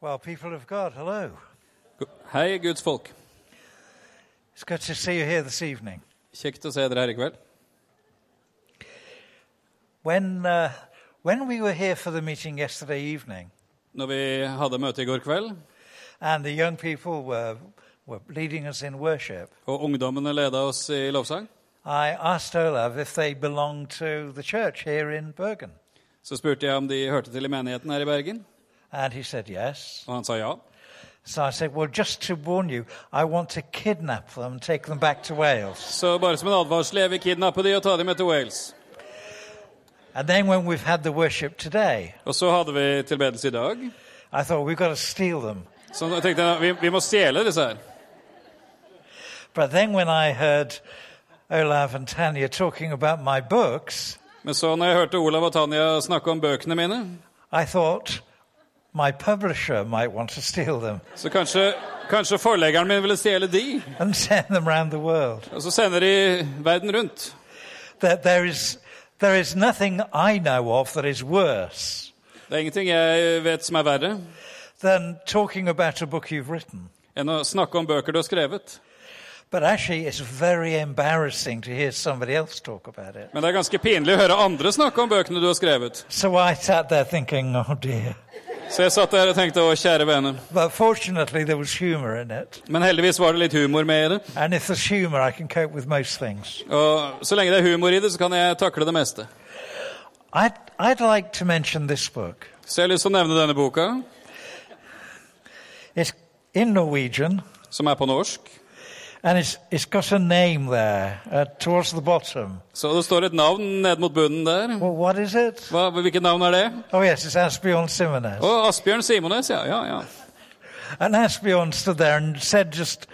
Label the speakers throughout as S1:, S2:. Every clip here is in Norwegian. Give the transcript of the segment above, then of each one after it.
S1: Well, people of God, hello.
S2: Hei, Guds folk.
S1: It's good to see you here this evening.
S2: Kjekt å se dere her i kveld.
S1: When, uh, when we were here for the meeting yesterday evening,
S2: Når vi hadde møte i går kveld,
S1: and the young people were, were leading us in worship,
S2: og ungdommene leda oss i lovsang,
S1: I asked Olav if they belonged to the church here in Bergen.
S2: så spurte jeg om de hørte til i menigheten her i Bergen,
S1: And he said yes.
S2: og han sa ja.
S1: So I said, Well, just to warn you, I want to kidnap them and take them back to Wales.
S2: Så bare som en advarsel, jeg vil kidnappe de og ta de med til Wales.
S1: And then when we've had the worship today,
S2: Og så hadde vi tilbedelse i dag,
S1: I thought we've got to steal them.
S2: så jeg tenkte jeg vi, vi må stjele disse her.
S1: But then when I heard Olav and Tanya talking about my books,
S2: Men så når jeg hørte Olav og Tanja snakke om bøkene mine,
S1: I thought my publisher might want to steal them
S2: så kanskje, kanskje forleggeren min ville stjele de,
S1: and send them round the world.
S2: og så sender de verden rundt.
S1: That there is, there is nothing I know of that is worse
S2: Det er ingenting jeg vet som er verre
S1: than talking about a book you've written.
S2: enn å snakke om bøker du har skrevet.
S1: But actually, it's very embarrassing to hear somebody else talk about it.
S2: Men det er ganske pinlig å høre andre snakke om bøkene du har skrevet.
S1: So I sat there thinking, oh dear.
S2: Så jeg satt der og tenkte 'Å, kjære vene'.
S1: But fortunately, there was humor in it.
S2: Men heldigvis var det litt humor med i det.
S1: And if there's humor, I can cope with most things.
S2: Og så lenge det er humor i det, så kan jeg takle det meste.
S1: I'd, I'd like to mention this book.
S2: Så jeg har lyst til å nevne denne boka,
S1: It's in Norwegian.
S2: som er på norsk.
S1: And it's, it's got a name there uh, towards the bottom.
S2: Så det står et navn ned mot bunnen der.
S1: Well, what is it?
S2: Hva, hvilket navn er det?
S1: Oh, yes, it's Asbjorn Simones.
S2: Å, Asbjørn Simones, ja. ja, ja.
S1: And Asbjorn stood there and said just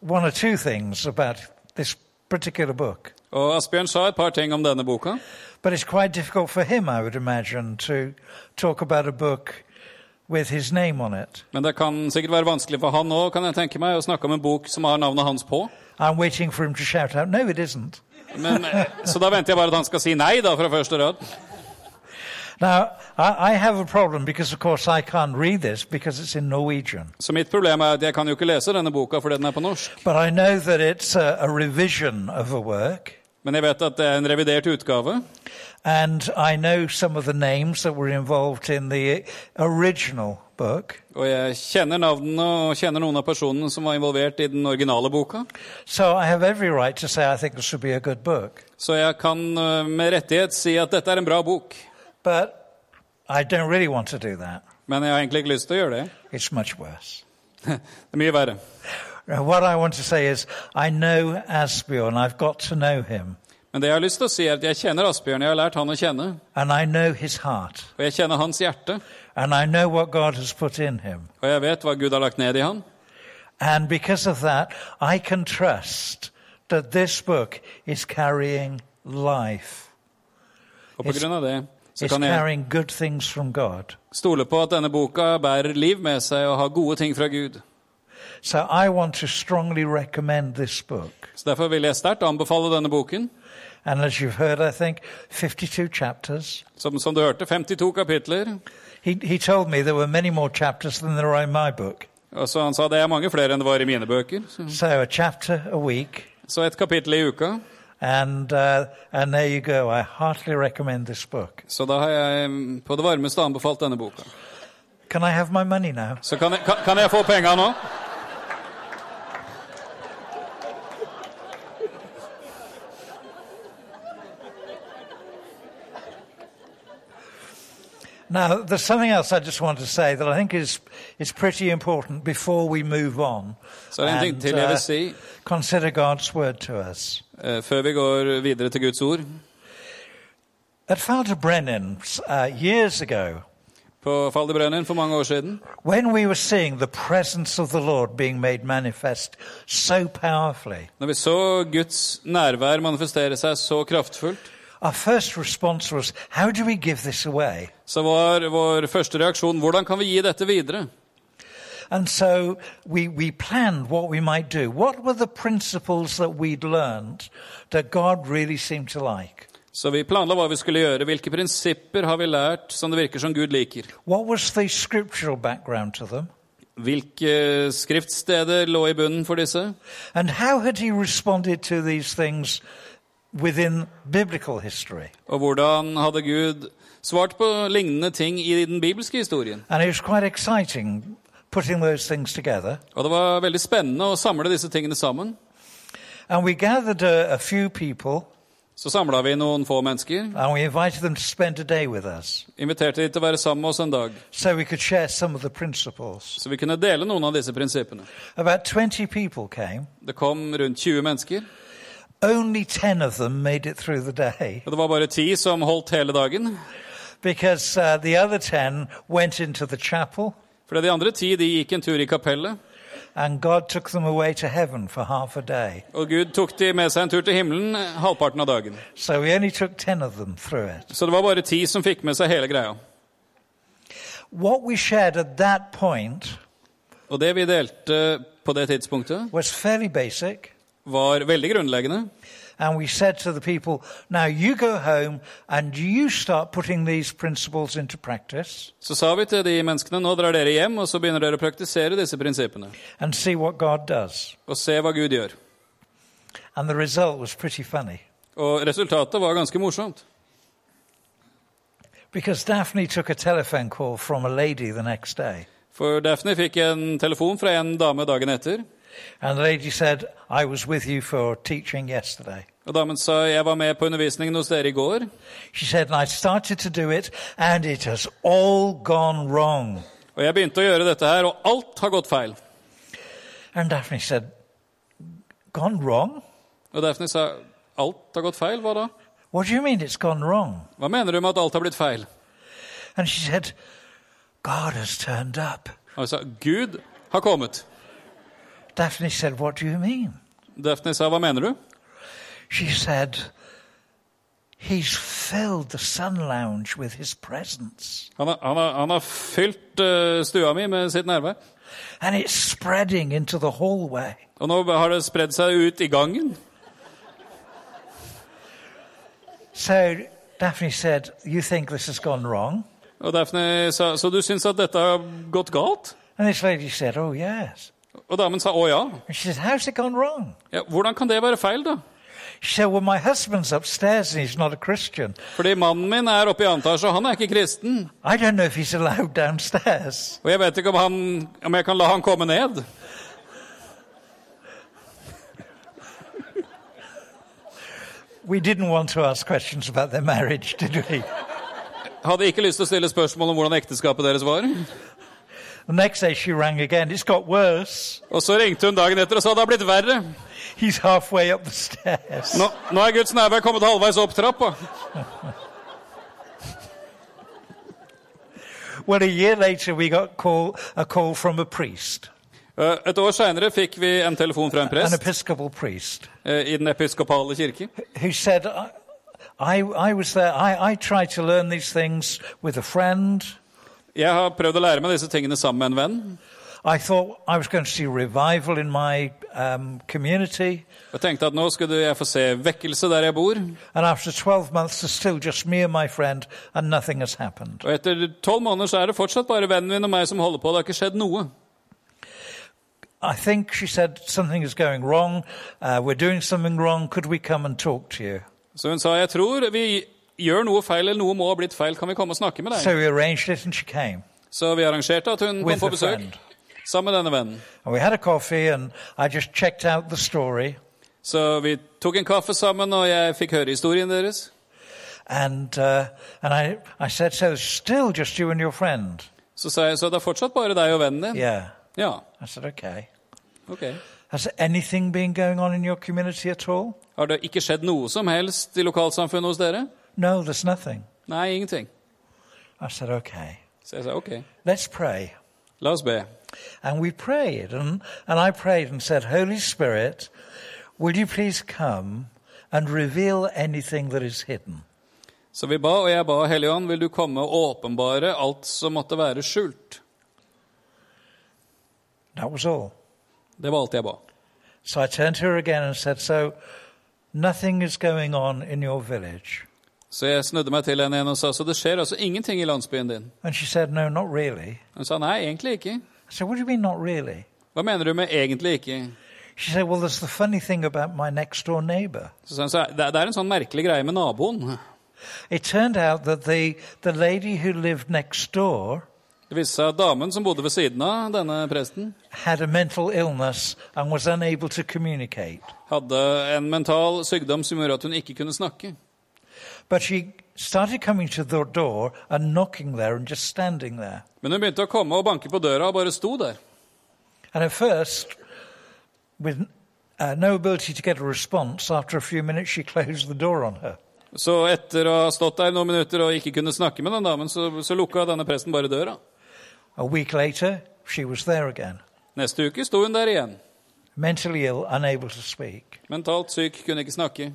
S1: one or two things about this particular book.
S2: Og Asbjørn sa et par ting om denne boka.
S1: But it's quite difficult for him, I would imagine, to talk about a book with his name on it.
S2: Men det kan sikkert være vanskelig for han òg, kan jeg tenke meg, å snakke om en bok som har navnet hans på.
S1: I'm waiting for him to shout out, no, it isn't.
S2: Men, eh, så da venter jeg bare at han skal si nei, da, fra første rad.
S1: Now, I, I have a problem because, of course, I can't read this because it's in Norwegian.
S2: Så mitt problem er at jeg kan jo ikke lese denne boka fordi den er på norsk.
S1: But I know that it's a, a revision of a work.
S2: Men jeg vet at det er en revidert utgave,
S1: And I know some of the names that were involved in the original book.
S2: og jeg kjenner navnene og kjenner noen av personene som var involvert i den originale boka.
S1: So I have every right to say I think this would be a good book.
S2: Så jeg kan eh, med rettighet si at dette er en bra bok.
S1: But I don't really want to do that.
S2: Men jeg har egentlig ikke lyst til å gjøre det.
S1: It's much worse.
S2: Det er mye verre.
S1: Now, What I want to say is I know Asbjorn, I've got to know him,
S2: Men det jeg har lyst til å si, er at jeg kjenner Asbjørn. Jeg har lært han å kjenne.
S1: and I know his heart,
S2: Og jeg kjenner hans hjerte.
S1: and I know what God has put in him.
S2: Og jeg vet hva Gud har lagt ned i han.
S1: And because of that, I can trust that this book is carrying life,
S2: Og på grunn av det så
S1: it's
S2: kan jeg
S1: carrying good things from God.
S2: stole på at denne boka bærer liv med seg og har gode ting fra Gud.
S1: So I want to strongly recommend this book.
S2: Så derfor vil jeg sterkt anbefale denne boken.
S1: And as you've heard, I think, 52 chapters.
S2: Som, som du hørte, 52 kapitler.
S1: He, he told me there were many more chapters than there are in my book.
S2: Og så Han sa det er mange flere enn det var i mine bøker. Så,
S1: So a chapter a week.
S2: så et kapittel i uka.
S1: And, uh, and there you go. I heartily recommend this book.
S2: Så da har jeg mm, på det varmeste anbefalt denne boka.
S1: Can I have my money now?
S2: Så kan jeg, kan, kan jeg få penga nå?
S1: Now, there's something else I just want to say that I think is, is pretty important before we move on. uh,
S2: Så er det en ting til jeg vil si
S1: consider God's word to us.
S2: eh, før vi går videre til Guds ord.
S1: At Father Brennan, uh, years ago,
S2: På Falderbrennen for mange år siden
S1: When we were seeing the presence of the Lord being made manifest so powerfully,
S2: Når vi så Guds nærvær manifestere seg så kraftfullt,
S1: our first response was, How do we give this away?
S2: så var vår første reaksjon hvordan kan vi gi dette videre?
S1: And so we, we planned what we might do. What were the principles that we'd learned that God really seemed to like?
S2: Så vi planla hva vi skulle gjøre. Hvilke prinsipper har vi lært som det virker som Gud liker?
S1: What was the scriptural background to them?
S2: Hvilke skriftsteder lå i bunnen for disse?
S1: And how had he responded to these things within biblical history?
S2: Og hvordan hadde Gud svart på lignende ting i den bibelske historien?
S1: And it was quite exciting putting those things together.
S2: Og det var veldig spennende å samle disse tingene sammen.
S1: And we gathered uh, a, a few people
S2: Så samla vi noen få mennesker,
S1: and we invited them to spend a day with us
S2: inviterte de til å være sammen med oss en dag,
S1: so we could share some of the principles.
S2: så vi kunne dele noen av disse prinsippene.
S1: About 20 people came.
S2: Det kom rundt 20 mennesker,
S1: Only 10 of them made it through the day
S2: og det var bare ti som holdt hele dagen.
S1: because uh, the other 10 went into the chapel
S2: For de andre ti de gikk en tur i kapellet,
S1: and God took them away to heaven for half a day.
S2: og Gud tok de med seg en tur til himmelen eh, halvparten av dagen.
S1: So we only took 10 of them through it.
S2: Så det var bare ti som fikk med seg hele greia.
S1: What we shared at that point
S2: Og det vi delte på det tidspunktet,
S1: was fairly basic.
S2: var veldig grunnleggende.
S1: And we said to the people, now you go home and you start putting these principles into practice
S2: Så sa vi til de menneskene nå drar dere hjem og så begynner dere å praktisere disse prinsippene.
S1: and see what God does.
S2: Og se hva Gud gjør.
S1: And the result was pretty funny
S2: Og resultatet var ganske morsomt.
S1: because Daphne took a telephone call from a lady the next day.
S2: For Daphne fikk en telefon fra en dame dagen etter.
S1: And the lady said, I was with you for teaching yesterday.
S2: Og damen sa jeg var med på undervisningen hos dere i går.
S1: She said, and I started to do it and it has all gone wrong.
S2: Og jeg begynte å gjøre dette her, og alt har gått feil.
S1: And Daphne said, Gone wrong?
S2: Og Daphne sa alt har gått feil, hva da?
S1: What do you mean it's gone wrong?
S2: Hva mener du med at alt har blitt feil?
S1: And she said, God has turned up.
S2: Og jeg sa Gud har kommet.
S1: Daphne said, What do you mean?
S2: Daphne sa hva mener du?
S1: She said, He's filled the sun lounge with his presence
S2: Han har, han har, han har fylt eh, stua mi med sitt nærvær.
S1: and it's spreading into the hallway.
S2: Og nå har det spredd seg ut i gangen.
S1: So Daphne said, You think this has gone wrong?
S2: Og Daphne sa Så du syns at dette har gått galt?
S1: And this lady said, Oh, yes.
S2: Og damen sa å ja.
S1: And she said, How's it gone wrong?
S2: ja. Hvordan kan det være feil, da?
S1: She said, Well, my husband's upstairs and he's not a Christian.
S2: Fordi mannen min er oppe i annen etasje, og han er ikke kristen.
S1: I don't know if he's allowed downstairs.
S2: Og jeg vet ikke om, han, om jeg kan la han komme ned.
S1: We didn't want to ask questions about their marriage, did we?
S2: Hadde ikke lyst til å stille spørsmål om hvordan ekteskapet deres var.
S1: The next day she rang again. It's got worse.
S2: Og så ringte hun dagen etter og sa det har blitt verre.
S1: He's halfway up the stairs.
S2: Nå, nå er Guds nærvær kommet halvveis opp trappa.
S1: Well, a year later, we got call, a call from a priest,
S2: Eh, Et år seinere fikk vi en telefon fra en
S1: an
S2: prest
S1: Episcopal priest,
S2: eh, i Den episkopale kirke.
S1: who said, I, I, I was there. I, I tried to learn these things with a friend.
S2: Jeg har prøvd å lære meg disse tingene sammen med en venn.
S1: I thought I was going to see revival in my um, community.
S2: Jeg tenkte at nå skulle jeg få se vekkelse der jeg bor.
S1: And after 12 months, it's still just me and my friend, and nothing has happened.
S2: Og etter tolv måneder så er det fortsatt bare vennen min og meg som holder på. Det har ikke skjedd noe.
S1: I think she said, Something is going wrong. Uh, we're doing something wrong. Could we come and talk to you?
S2: Så hun sa jeg tror vi gjør noe feil, eller noe må ha blitt feil, kan vi komme og snakke med deg?
S1: So we arranged it, and she came.
S2: Så vi arrangerte at hun kom
S1: With
S2: på
S1: a
S2: besøk
S1: friend.
S2: sammen med denne vennen.
S1: And we had a coffee, and I just checked out the story.
S2: Så vi tok en kaffe sammen, og jeg fikk høre historien deres.
S1: And, uh, and I, I said, So it's still just you and your friend?
S2: Så sa jeg så det er fortsatt bare deg og vennen din?
S1: Yeah.
S2: Ja.
S1: I said, Okay.
S2: Ok.
S1: Has anything been going on in your community at all?
S2: Har det ikke skjedd noe som helst i lokalsamfunnet hos dere?
S1: No, there's nothing.
S2: Nei, ingenting.
S1: I said, Okay.
S2: Så jeg sa ok,
S1: Let's pray.
S2: la oss be.
S1: And we prayed, and, and I prayed and said, Holy Spirit, will you please come and reveal anything that is hidden?
S2: Så vi ba, og jeg ba, Helligånd, vil du komme og åpenbare alt som måtte være skjult?
S1: That was all.
S2: Det var alt jeg ba.
S1: So I turned to her again and said, So nothing is going on in your village?
S2: Så jeg snudde meg til henne igjen og sa, så det skjer altså ingenting i landsbyen din?
S1: And she said, No, not really.
S2: Hun sa, nei, egentlig ikke.
S1: I said, What do you mean, not really?
S2: Hva mener du med 'egentlig ikke'?
S1: She said, Well, there's the funny thing about my next door neighbor.
S2: Så sa hun, så er- det det er en sånn merkelig greie med naboen.
S1: It turned out that the, the lady who lived next door
S2: Det viste seg at damen som bodde ved siden av denne presten,
S1: had a mental illness and was unable to communicate.
S2: hadde en mental sykdom som gjorde at hun ikke kunne snakke.
S1: But she started coming to the door and knocking there and just standing there.
S2: Men hun begynte å komme og banke på døra og bare sto der.
S1: And at first, with uh, no ability to get a response, after a few minutes, she closed the door on her.
S2: Så etter å ha stått der noen minutter og ikke kunne snakke med den damen, så, så lukka denne presten bare døra.
S1: A week later, she was there again,
S2: Neste uke sto hun der igjen.
S1: mentally ill, unable to speak.
S2: Mentalt syk, kunne ikke snakke.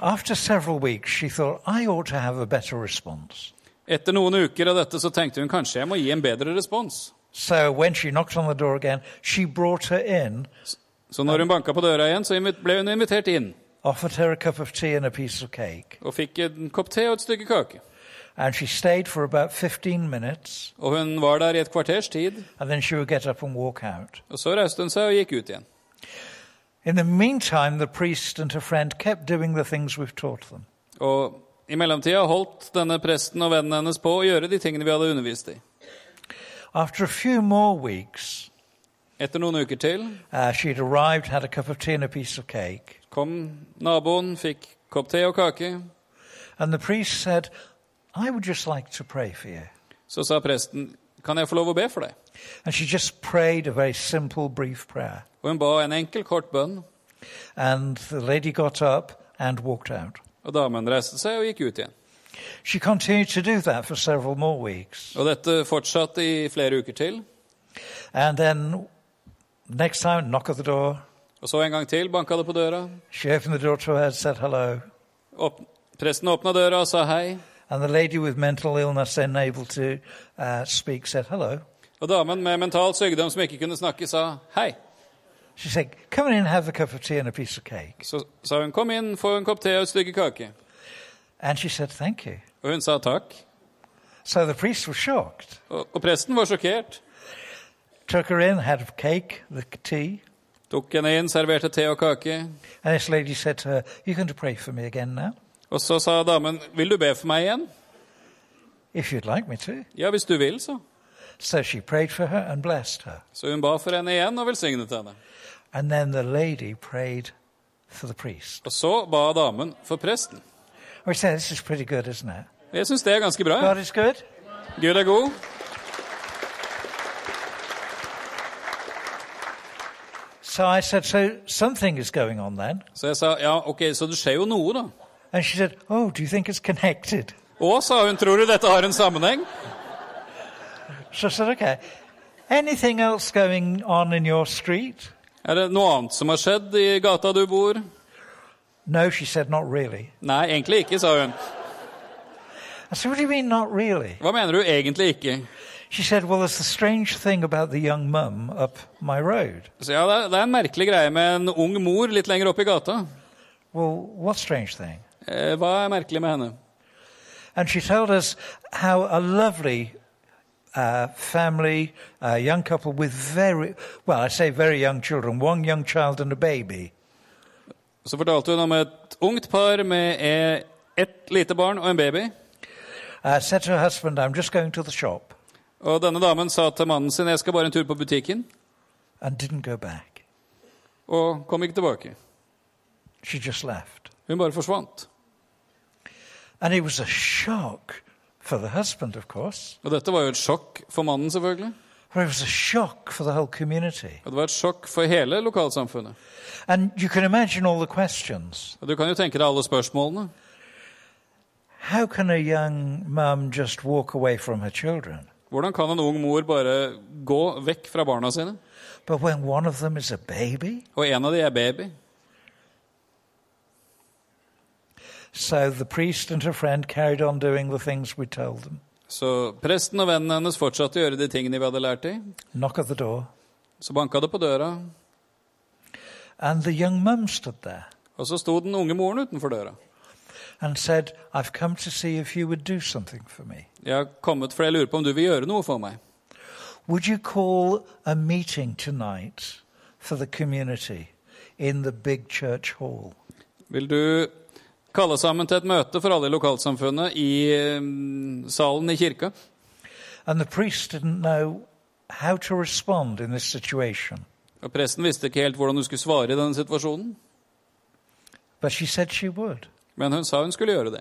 S1: After several weeks, she thought, I ought to have a better response.
S2: Etter noen uker av dette så tenkte hun kanskje jeg må gi en bedre respons.
S1: So when she knocked on the door again, she brought her in,
S2: Så når hun banka på døra igjen, så invit- ble hun invitert inn.
S1: offered her a cup of tea and a piece of cake.
S2: Og fikk en kopp te og et stykke kake.
S1: And she stayed for about 15 minutes,
S2: Og hun var der i et kvarters tid,
S1: and then she would get up and walk out.
S2: og så reiste hun seg og gikk ut igjen.
S1: In the meantime, the priest and her friend kept doing the things we've taught them.
S2: Og i mellomtida holdt denne presten og vennen hennes på å gjøre de tingene vi hadde undervist i.
S1: After a few more weeks,
S2: Etter noen uker til
S1: uh, she'd arrived, had a cup of tea and a piece of cake.
S2: kom naboen, fikk kopp te og kake.
S1: And the priest said, I would just like to pray for you.
S2: Så sa presten, kan jeg få lov å be for deg?
S1: And she just prayed a very simple, brief prayer.
S2: Og hun ba en enkel, kort bønn,
S1: And the lady got up and walked out.
S2: og damen reiste seg og gikk ut igjen.
S1: She continued to do that for several more weeks.
S2: Og dette fortsatte i flere uker til.
S1: And then next time, knock at the door.
S2: Og så en gang til banka det på døra.
S1: She opened the door to her and said hello.
S2: Opp, presten åpna døra og sa hei.
S1: And the lady with mental illness, unable to uh, speak, said hello.
S2: Og damen med mental sykdom som ikke kunne snakke, sa hei.
S1: She said, Come in and have a cup of tea and a piece of cake.
S2: Så sa hun kom inn, få en kopp te og et stykke kake.
S1: And she said, Thank you.
S2: Og hun sa takk.
S1: So the priest was shocked.
S2: Og, og presten var sjokkert.
S1: Took her in, had a cake, the tea.
S2: Tok henne inn, serverte te og kake.
S1: And this lady said to her, You're going to pray for me again now?
S2: Og så sa damen, vil du be for meg igjen?
S1: If you'd like me to.
S2: Ja, hvis du vil, så.
S1: So she prayed for her and blessed her.
S2: Så hun ba for henne igjen og velsignet henne.
S1: And then the lady prayed for the priest.
S2: Og så ba damen for presten.
S1: We said, This is pretty good, isn't it?
S2: Og Jeg syns det er ganske bra.
S1: God is good.
S2: Gud er god.
S1: So I said, So something is going on then.
S2: Så jeg sa ja, ok, så det skjer jo noe, da.
S1: And she said, Oh, do you think it's connected?
S2: Å, sa hun, tror du dette har en sammenheng?
S1: So I said, Okay. Anything else going on in your street?
S2: Er det noe annet som har skjedd i gata du bor?
S1: No, she said, Not really.
S2: Nei, egentlig ikke, sa hun.
S1: I said, What do you mean, not really?
S2: Hva mener du egentlig ikke?
S1: She said, Well, there's the strange thing about the young mum up my road.
S2: Så ja, det er- det er en merkelig greie med en ung mor litt lenger opp i gata.
S1: Well, what strange thing?
S2: Eh, hva er merkelig med henne?
S1: And she told us how a lovely uh, family, a young couple with very, well, I say very young children, one young child and a baby,
S2: Så fortalte hun om et ungt par med eh, ett lite barn og en baby.
S1: uh, said to her husband, I'm just going to the shop,
S2: Og denne damen sa til mannen sin jeg skal bare en tur på butikken,
S1: and didn't go back.
S2: og kom ikke tilbake.
S1: She just left.
S2: Hun bare forsvant.
S1: And it was a shock for the husband, of course,
S2: Og dette var jo et sjokk for mannen, selvfølgelig.
S1: but it was a shock for the whole community.
S2: Og det var et sjokk for hele lokalsamfunnet.
S1: And you can imagine all the questions.
S2: Og du kan jo tenke deg alle spørsmålene.
S1: How can a young mum just walk away from her children?
S2: Hvordan kan en ung mor bare gå vekk fra barna sine?
S1: But when one of them is a baby?
S2: Og en av de er baby.
S1: So the priest and her friend carried on doing the things we told them
S2: Så presten og vennen hennes fortsatte å gjøre de tingene vi hadde lært dem.
S1: knock at the door,
S2: Så banka det på døra,
S1: and the young mum stood there
S2: og så sto den unge moren utenfor døra.
S1: and said, I've come to see if you would do something for me.
S2: Jeg har kommet fordi jeg lurer på om du vil gjøre noe for meg.
S1: Would you call a meeting tonight for the community in the big church hall?
S2: Vil du kalle sammen til et møte for alle i lokalsamfunnet i eh, salen i kirka?
S1: And the priest didn't know how to respond in this situation.
S2: Og Presten visste ikke helt hvordan hun skulle svare i denne situasjonen,
S1: But she said she would
S2: men hun sa hun skulle gjøre det.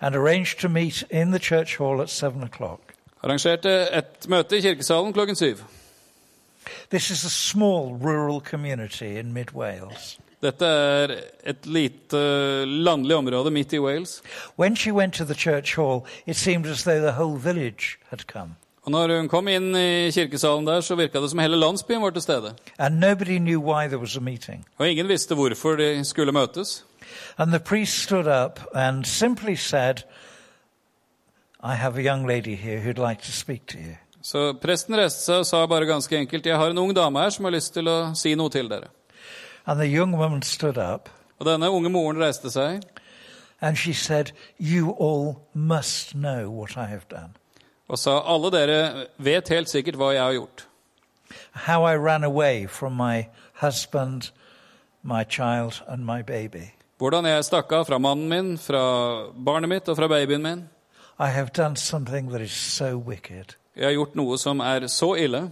S1: and arranged to meet in the church hall at seven o'clock.
S2: Arrangerte et møte i kirkesalen klokken syv.
S1: This is a small rural community in mid Wales.
S2: Dette er et lite landlig område midt i Wales.
S1: When she went to the church hall, it seemed as though the whole village had come,
S2: Og når hun kom inn i kirkesalen der, så virka det som hele landsbyen var til stede.
S1: and nobody knew why there was a meeting.
S2: Og ingen visste hvorfor de skulle møtes.
S1: And the priest stood up and simply said, I have a young lady here who'd like to speak to you.
S2: Så presten reiste seg og sa bare ganske enkelt Jeg har en ung dame her som har lyst til å si noe til dere.
S1: And the young woman stood up
S2: Og denne unge moren reiste seg,
S1: and she said, You all must know what I have done.
S2: og sa alle dere vet helt sikkert hva jeg har gjort.
S1: How I ran away from my husband, my child, and my baby.
S2: Hvordan jeg stakk av fra mannen min, fra barnet mitt og fra babyen min.
S1: I have done something that is so wicked,
S2: Jeg har gjort noe som er så ille,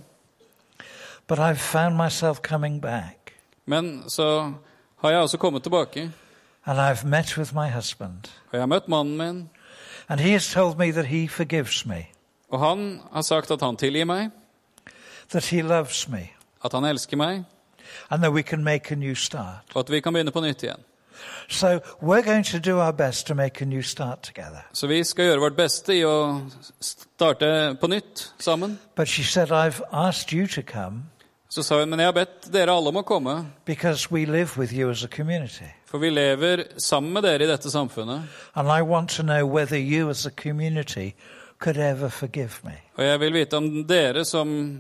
S1: but I've found myself coming back.
S2: men så har jeg også kommet tilbake.
S1: And I've met with my husband,
S2: Og jeg har møtt mannen min,
S1: and he has told me that he forgives me,
S2: og han har sagt at han tilgir meg,
S1: that he loves me,
S2: at han elsker meg,
S1: and that we can make a new start.
S2: og at vi kan begynne på nytt igjen.
S1: So we're going to do our best to make a new start together.
S2: Så vi skal gjøre vårt beste i å starte på nytt sammen.
S1: But she said, I've asked you to come
S2: Så sa hun, men jeg har bedt dere alle om å komme,
S1: because we live with you as a community.
S2: for vi lever sammen med dere i dette samfunnet.
S1: And I want to know whether you as a community could ever forgive me.
S2: Og jeg vil vite om dere som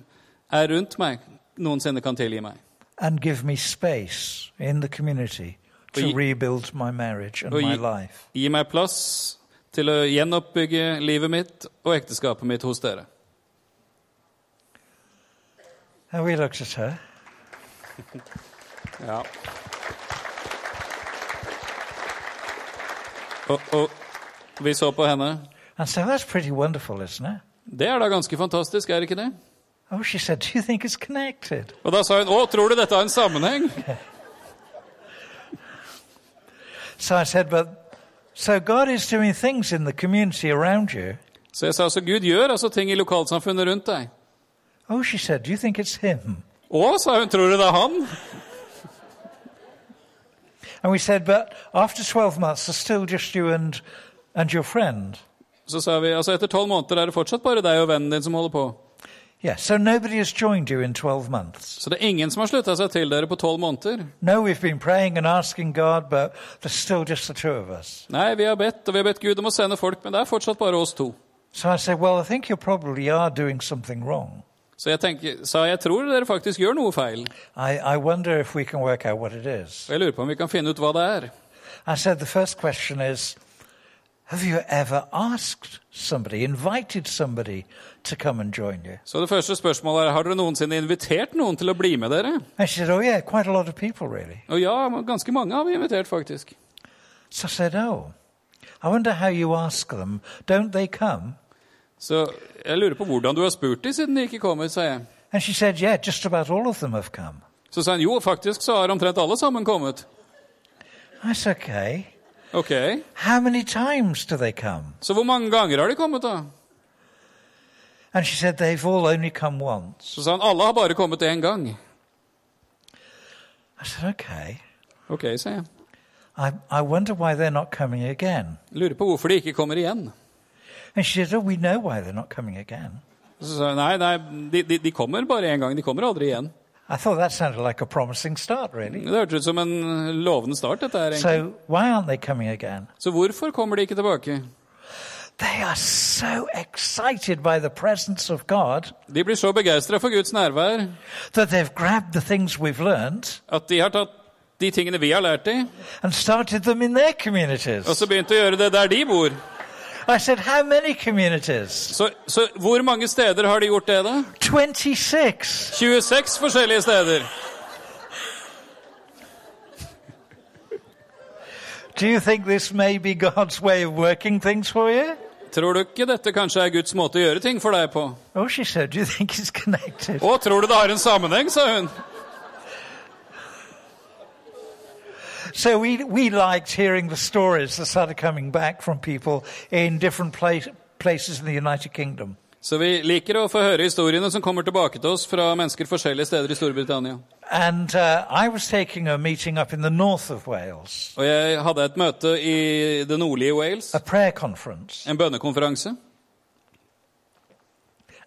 S2: er rundt meg, noensinne kan tilgi meg.
S1: and give me space in the community to
S2: Well, you-
S1: rebuild my marriage and
S2: Well,
S1: my
S2: you-
S1: life.
S2: Gi meg plass til å gjenoppbygge livet mitt og ekteskapet mitt hos dere.
S1: And we looked at her
S2: Ja. Og, og vi så på henne.
S1: and said, That's pretty wonderful, isn't it?
S2: Det er da ganske fantastisk, er det ikke det?
S1: Oh, she said, Do you think it's connected?
S2: Og da sa hun Å, tror du dette har en sammenheng?
S1: So I said, But so God is doing things in the community around you.
S2: Så jeg sa så Gud gjør altså ting i lokalsamfunnet rundt deg.
S1: Oh, she said, Do you think it's Him?
S2: Å, sa hun, tror du det er han?
S1: And we said, But after 12 months, there's still just you and, and your friend.
S2: Så sa vi altså etter tolv måneder er det fortsatt bare deg og vennen din som holder på.
S1: Yeah, so nobody has joined you in 12 months.
S2: Så det er ingen som har slutta seg til dere på tolv måneder.
S1: No, we've been praying and asking God, but there's still just the two of us.
S2: Nei, vi har bedt, og vi har bedt Gud om å sende folk, men det er fortsatt bare oss to.
S1: So I said, Well, I think you probably are doing something wrong.
S2: Så jeg tenker, sa jeg tror dere faktisk gjør noe feil.
S1: I, I wonder if we can work out what it is.
S2: Og jeg lurer på om vi kan finne ut hva det er.
S1: I said, The first question is Have you ever asked somebody, invited somebody to come and join you?
S2: Så det første spørsmålet er har dere noensinne invitert noen til å bli med dere.
S1: And she said, Oh, yeah, quite a lot of people, really.
S2: Og ja, ganske mange har vi invitert, faktisk.
S1: So I said, Oh, I wonder how you ask them. Don't they come?
S2: Så jeg lurer på hvordan du har spurt de siden de ikke kommer, sa jeg.
S1: And she said, Yeah, just about all of them have come.
S2: Så sa han jo, faktisk så har omtrent alle sammen kommet.
S1: I said, Okay.
S2: Ok,
S1: How many times do they come?
S2: så hvor mange ganger har de kommet, da?
S1: And she said, They've all only come once.
S2: Så sa han alle har bare kommet én gang.
S1: I said, Okay.
S2: Ok, sa jeg.
S1: I, I wonder why they're not coming again.
S2: Lurer på hvorfor de ikke kommer igjen.
S1: And she said, Oh, we know why they're not coming again.
S2: Så sa jeg nei, nei, de, de, de kommer bare én gang. De kommer aldri igjen.
S1: I thought that sounded like a promising start, really.
S2: Det hørtes ut som en lovende start, dette her. egentlig.
S1: So, why aren't they coming again?
S2: Så hvorfor kommer de ikke tilbake?
S1: They are so excited by the presence of God
S2: De blir så begeistra for Guds nærvær
S1: that they've grabbed the things we've learned
S2: at de har tatt de tingene vi har lært dem,
S1: and started them in their
S2: og
S1: communities.
S2: så begynt å gjøre det der de bor.
S1: I said, How many communities?
S2: Så, så hvor mange steder har de gjort det, da?
S1: 26.
S2: 26 forskjellige steder.
S1: Do you think this may be God's way of working things for you?
S2: Tror du ikke dette kanskje er Guds måte å gjøre ting for deg på?
S1: Oh, she said, Do you think it's connected?
S2: Å, tror du det har en sammenheng, sa hun.
S1: So we, we liked hearing the stories that started coming back from people in different place, places in the United Kingdom.
S2: Så vi liker å få høre historiene som kommer tilbake til oss fra mennesker forskjellige steder i Storbritannia.
S1: And uh, I was taking a meeting up in the north of Wales,
S2: Og jeg hadde et møte i det nordlige Wales,
S1: a prayer conference.
S2: en bønnekonferanse.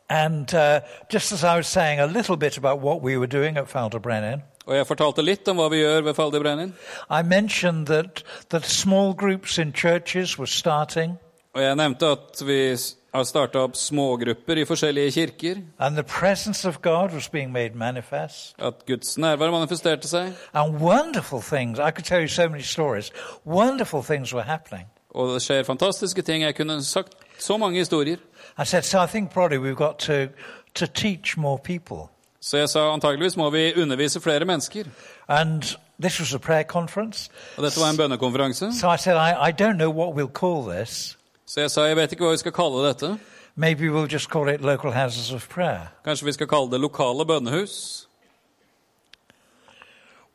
S1: And uh, just as I was saying a little bit about what we were doing at Falderbrennen,
S2: Og jeg fortalte litt om hva vi gjør ved Faldibrennen.
S1: I mentioned that, that small groups in churches were starting,
S2: Og jeg nevnte at vi s- har starta opp smågrupper i forskjellige kirker.
S1: and the presence of God was being made manifest,
S2: At Guds nærvær manifesterte seg.
S1: and wonderful things. I could tell you so many stories. Wonderful things were happening.
S2: Og det skjer fantastiske ting. Jeg kunne sagt så mange historier.
S1: I said, so I think probably we've got to, to teach more people.
S2: Så jeg sa antageligvis må vi undervise flere mennesker.
S1: And this was a prayer conference.
S2: Og dette var en bønnekonferanse.
S1: So I said, I, I don't know what we'll call this.
S2: Så jeg sa jeg vet ikke hva vi skal kalle dette.
S1: Maybe we'll just call it Local Houses of Prayer.
S2: Kanskje vi skal kalle det lokale bønnehus?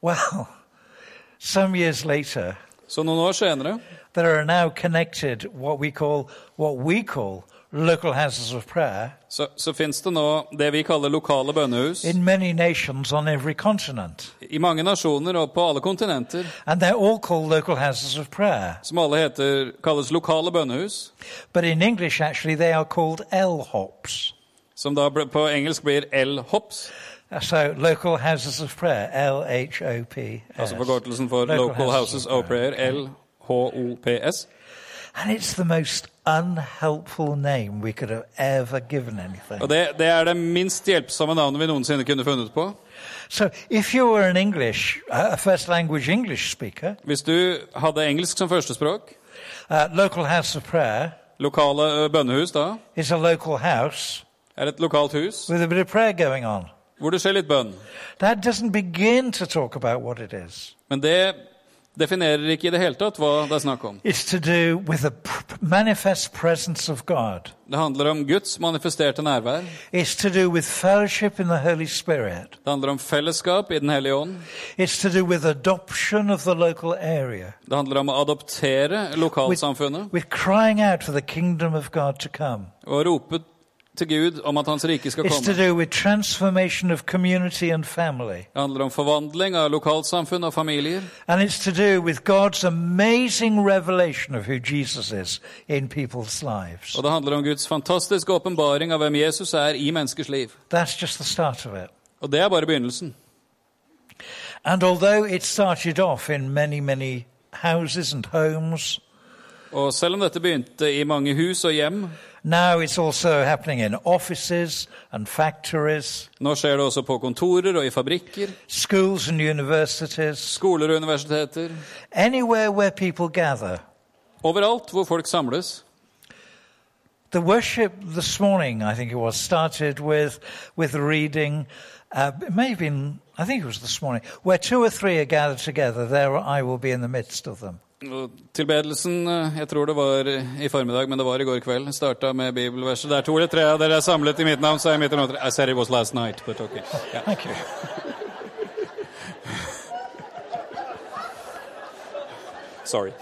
S1: Well, some years later,
S2: Så noen år senere
S1: there are now connected what we call, what we call local houses of prayer
S2: så, så fins det nå det vi kaller lokale bønnehus
S1: in many nations on every continent.
S2: i mange nasjoner og på alle kontinenter,
S1: And they're all called local houses of prayer.
S2: som alle heter, kalles lokale bønnehus.
S1: But in English, actually, they are called L-hops.
S2: Som da ble- på engelsk blir L-HOPS,
S1: Uh, So, local houses of prayer, L H O P.
S2: altså forkortelsen for
S1: Local
S2: Local
S1: Houses
S2: Houses
S1: of
S2: of Prayer, L-H-O-P-S.
S1: And it's the most unhelpful name we could have ever given anything.
S2: Og det, det er det minst hjelpsomme navnet vi noensinne kunne funnet på.
S1: So, if you were an English, uh, a first language English speaker,
S2: Hvis du hadde engelsk som førstespråk,
S1: uh, local house of prayer
S2: lokale ø, bønnehus da,
S1: is a local house
S2: er et lokalt hus
S1: with a bit of prayer going on.
S2: hvor det skjer litt bønn.
S1: That doesn't begin to talk about what it is.
S2: Men det definerer ikke i det hele tatt hva det er snakk om.
S1: It's to do with the pr- manifest presence of God.
S2: Det handler om Guds manifesterte nærvær.
S1: It's to do with fellowship in the Holy Spirit.
S2: Det handler om fellesskap i Den hellige ånd.
S1: It's to do with adoption of the local area.
S2: Det handler om å adoptere lokalsamfunnet
S1: We're crying out for the kingdom of God to come.
S2: og rope til Gud om at Hans rike skal
S1: It's to
S2: komme.
S1: do with transformation of community and family.
S2: Det handler om forvandling av lokalsamfunn og familier.
S1: And it's to do with God's amazing revelation of who Jesus is in people's lives.
S2: Og det handler om Guds fantastiske åpenbaring av hvem Jesus er i menneskers liv.
S1: That's just the start of it.
S2: Og det er bare begynnelsen.
S1: And although it started off in many, many houses and homes,
S2: Og selv om dette begynte i mange hus og hjem,
S1: now it's also happening in offices and factories,
S2: nå skjer det også på kontorer og i fabrikker,
S1: schools and universities,
S2: skoler og universiteter.
S1: anywhere where people gather.
S2: Overalt hvor folk samles.
S1: The worship this morning, I think it was, started with with reading. Uh, it may have been, I think it was this morning, where two or three are gathered together. There I will be in the midst of them.
S2: Og Tilbedelsen, eh, jeg tror det var i formiddag, men det var i går kveld, starta med bibelverset. Der to eller tre av dere er samlet i mitt navn, så er jeg mitt navn. I said it was last night, but okay. Ja.
S1: Thank you.
S2: Sorry.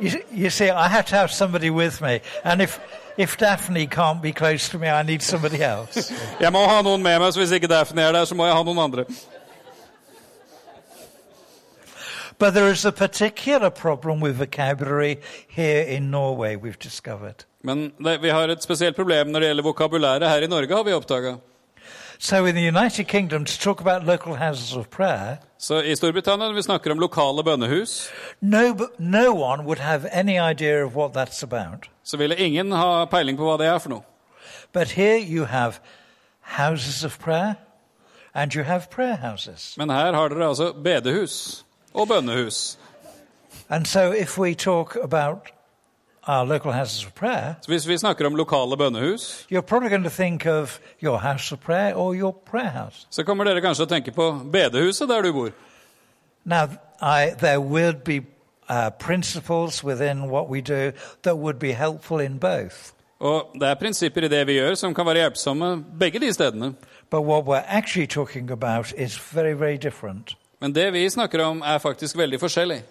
S1: you. You see, I have to have somebody with me, and if if Daphne can't be close to me, I need somebody else.
S2: Jeg må ha noen med meg, så hvis ikke Daphne er der, så må jeg ha noen andre.
S1: but there is a particular problem with vocabulary here in Norway. We've discovered.
S2: Men det, vi har et spesielt problem når det gjelder vokabulæret her i Norge, har vi oppdaga.
S1: So in the United Kingdom, to talk about local houses of prayer,
S2: Så i Storbritannia, når vi snakker om lokale bønnehus,
S1: No, no one would have any idea of what that's about.
S2: så ville ingen ha peiling på hva det er for noe.
S1: But here you have houses of prayer and you have prayer houses.
S2: Men her har dere altså bedehus og bønnehus.
S1: And so if we talk about our local houses of prayer,
S2: Så hvis vi snakker om lokale bønnehus,
S1: you're probably going to think of your house of prayer or your prayer house.
S2: så kommer dere kanskje å tenke på bedehuset der du bor.
S1: Now, I, there would be uh, principles within what we do that would be helpful in both.
S2: Og det er prinsipper i det vi gjør som kan være hjelpsomme begge de stedene.
S1: But what we're actually talking about is very, very different.
S2: Men det vi snakker om, er faktisk veldig forskjellig.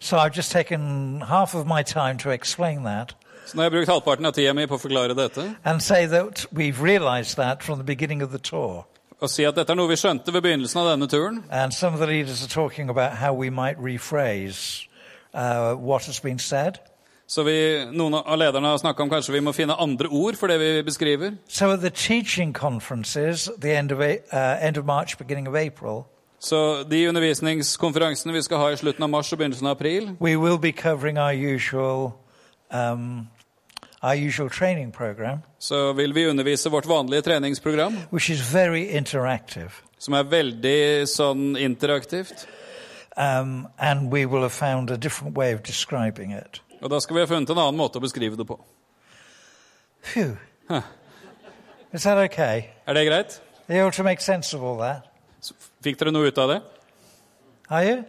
S1: So I've just taken half of my time to explain that
S2: Så nå har jeg brukt halvparten av tida mi på å forklare dette,
S1: and say that we've realized that from the beginning of the tour.
S2: og si at dette er noe vi skjønte ved begynnelsen av denne turen.
S1: And some of the leaders are talking about how we might rephrase uh, what has been said.
S2: Så vi, noen av lederne har snakka om kanskje vi må finne andre ord for det vi beskriver.
S1: So at the teaching conferences, at the end of, A- uh, end of March, beginning of April,
S2: Så de undervisningskonferansene vi skal ha i slutten av mars og begynnelsen av april,
S1: we will be covering our usual, um, our usual training program,
S2: så vil vi undervise vårt vanlige treningsprogram,
S1: which is very interactive.
S2: som er veldig sånn interaktivt.
S1: Um, and we will have found a different way of describing it.
S2: Og da skal vi ha funnet en annen måte å beskrive det på.
S1: Phew. Is that okay?
S2: Er det greit?
S1: Are you able to make sense of all that?
S2: Så Fikk dere noe ut av det?
S1: Are you?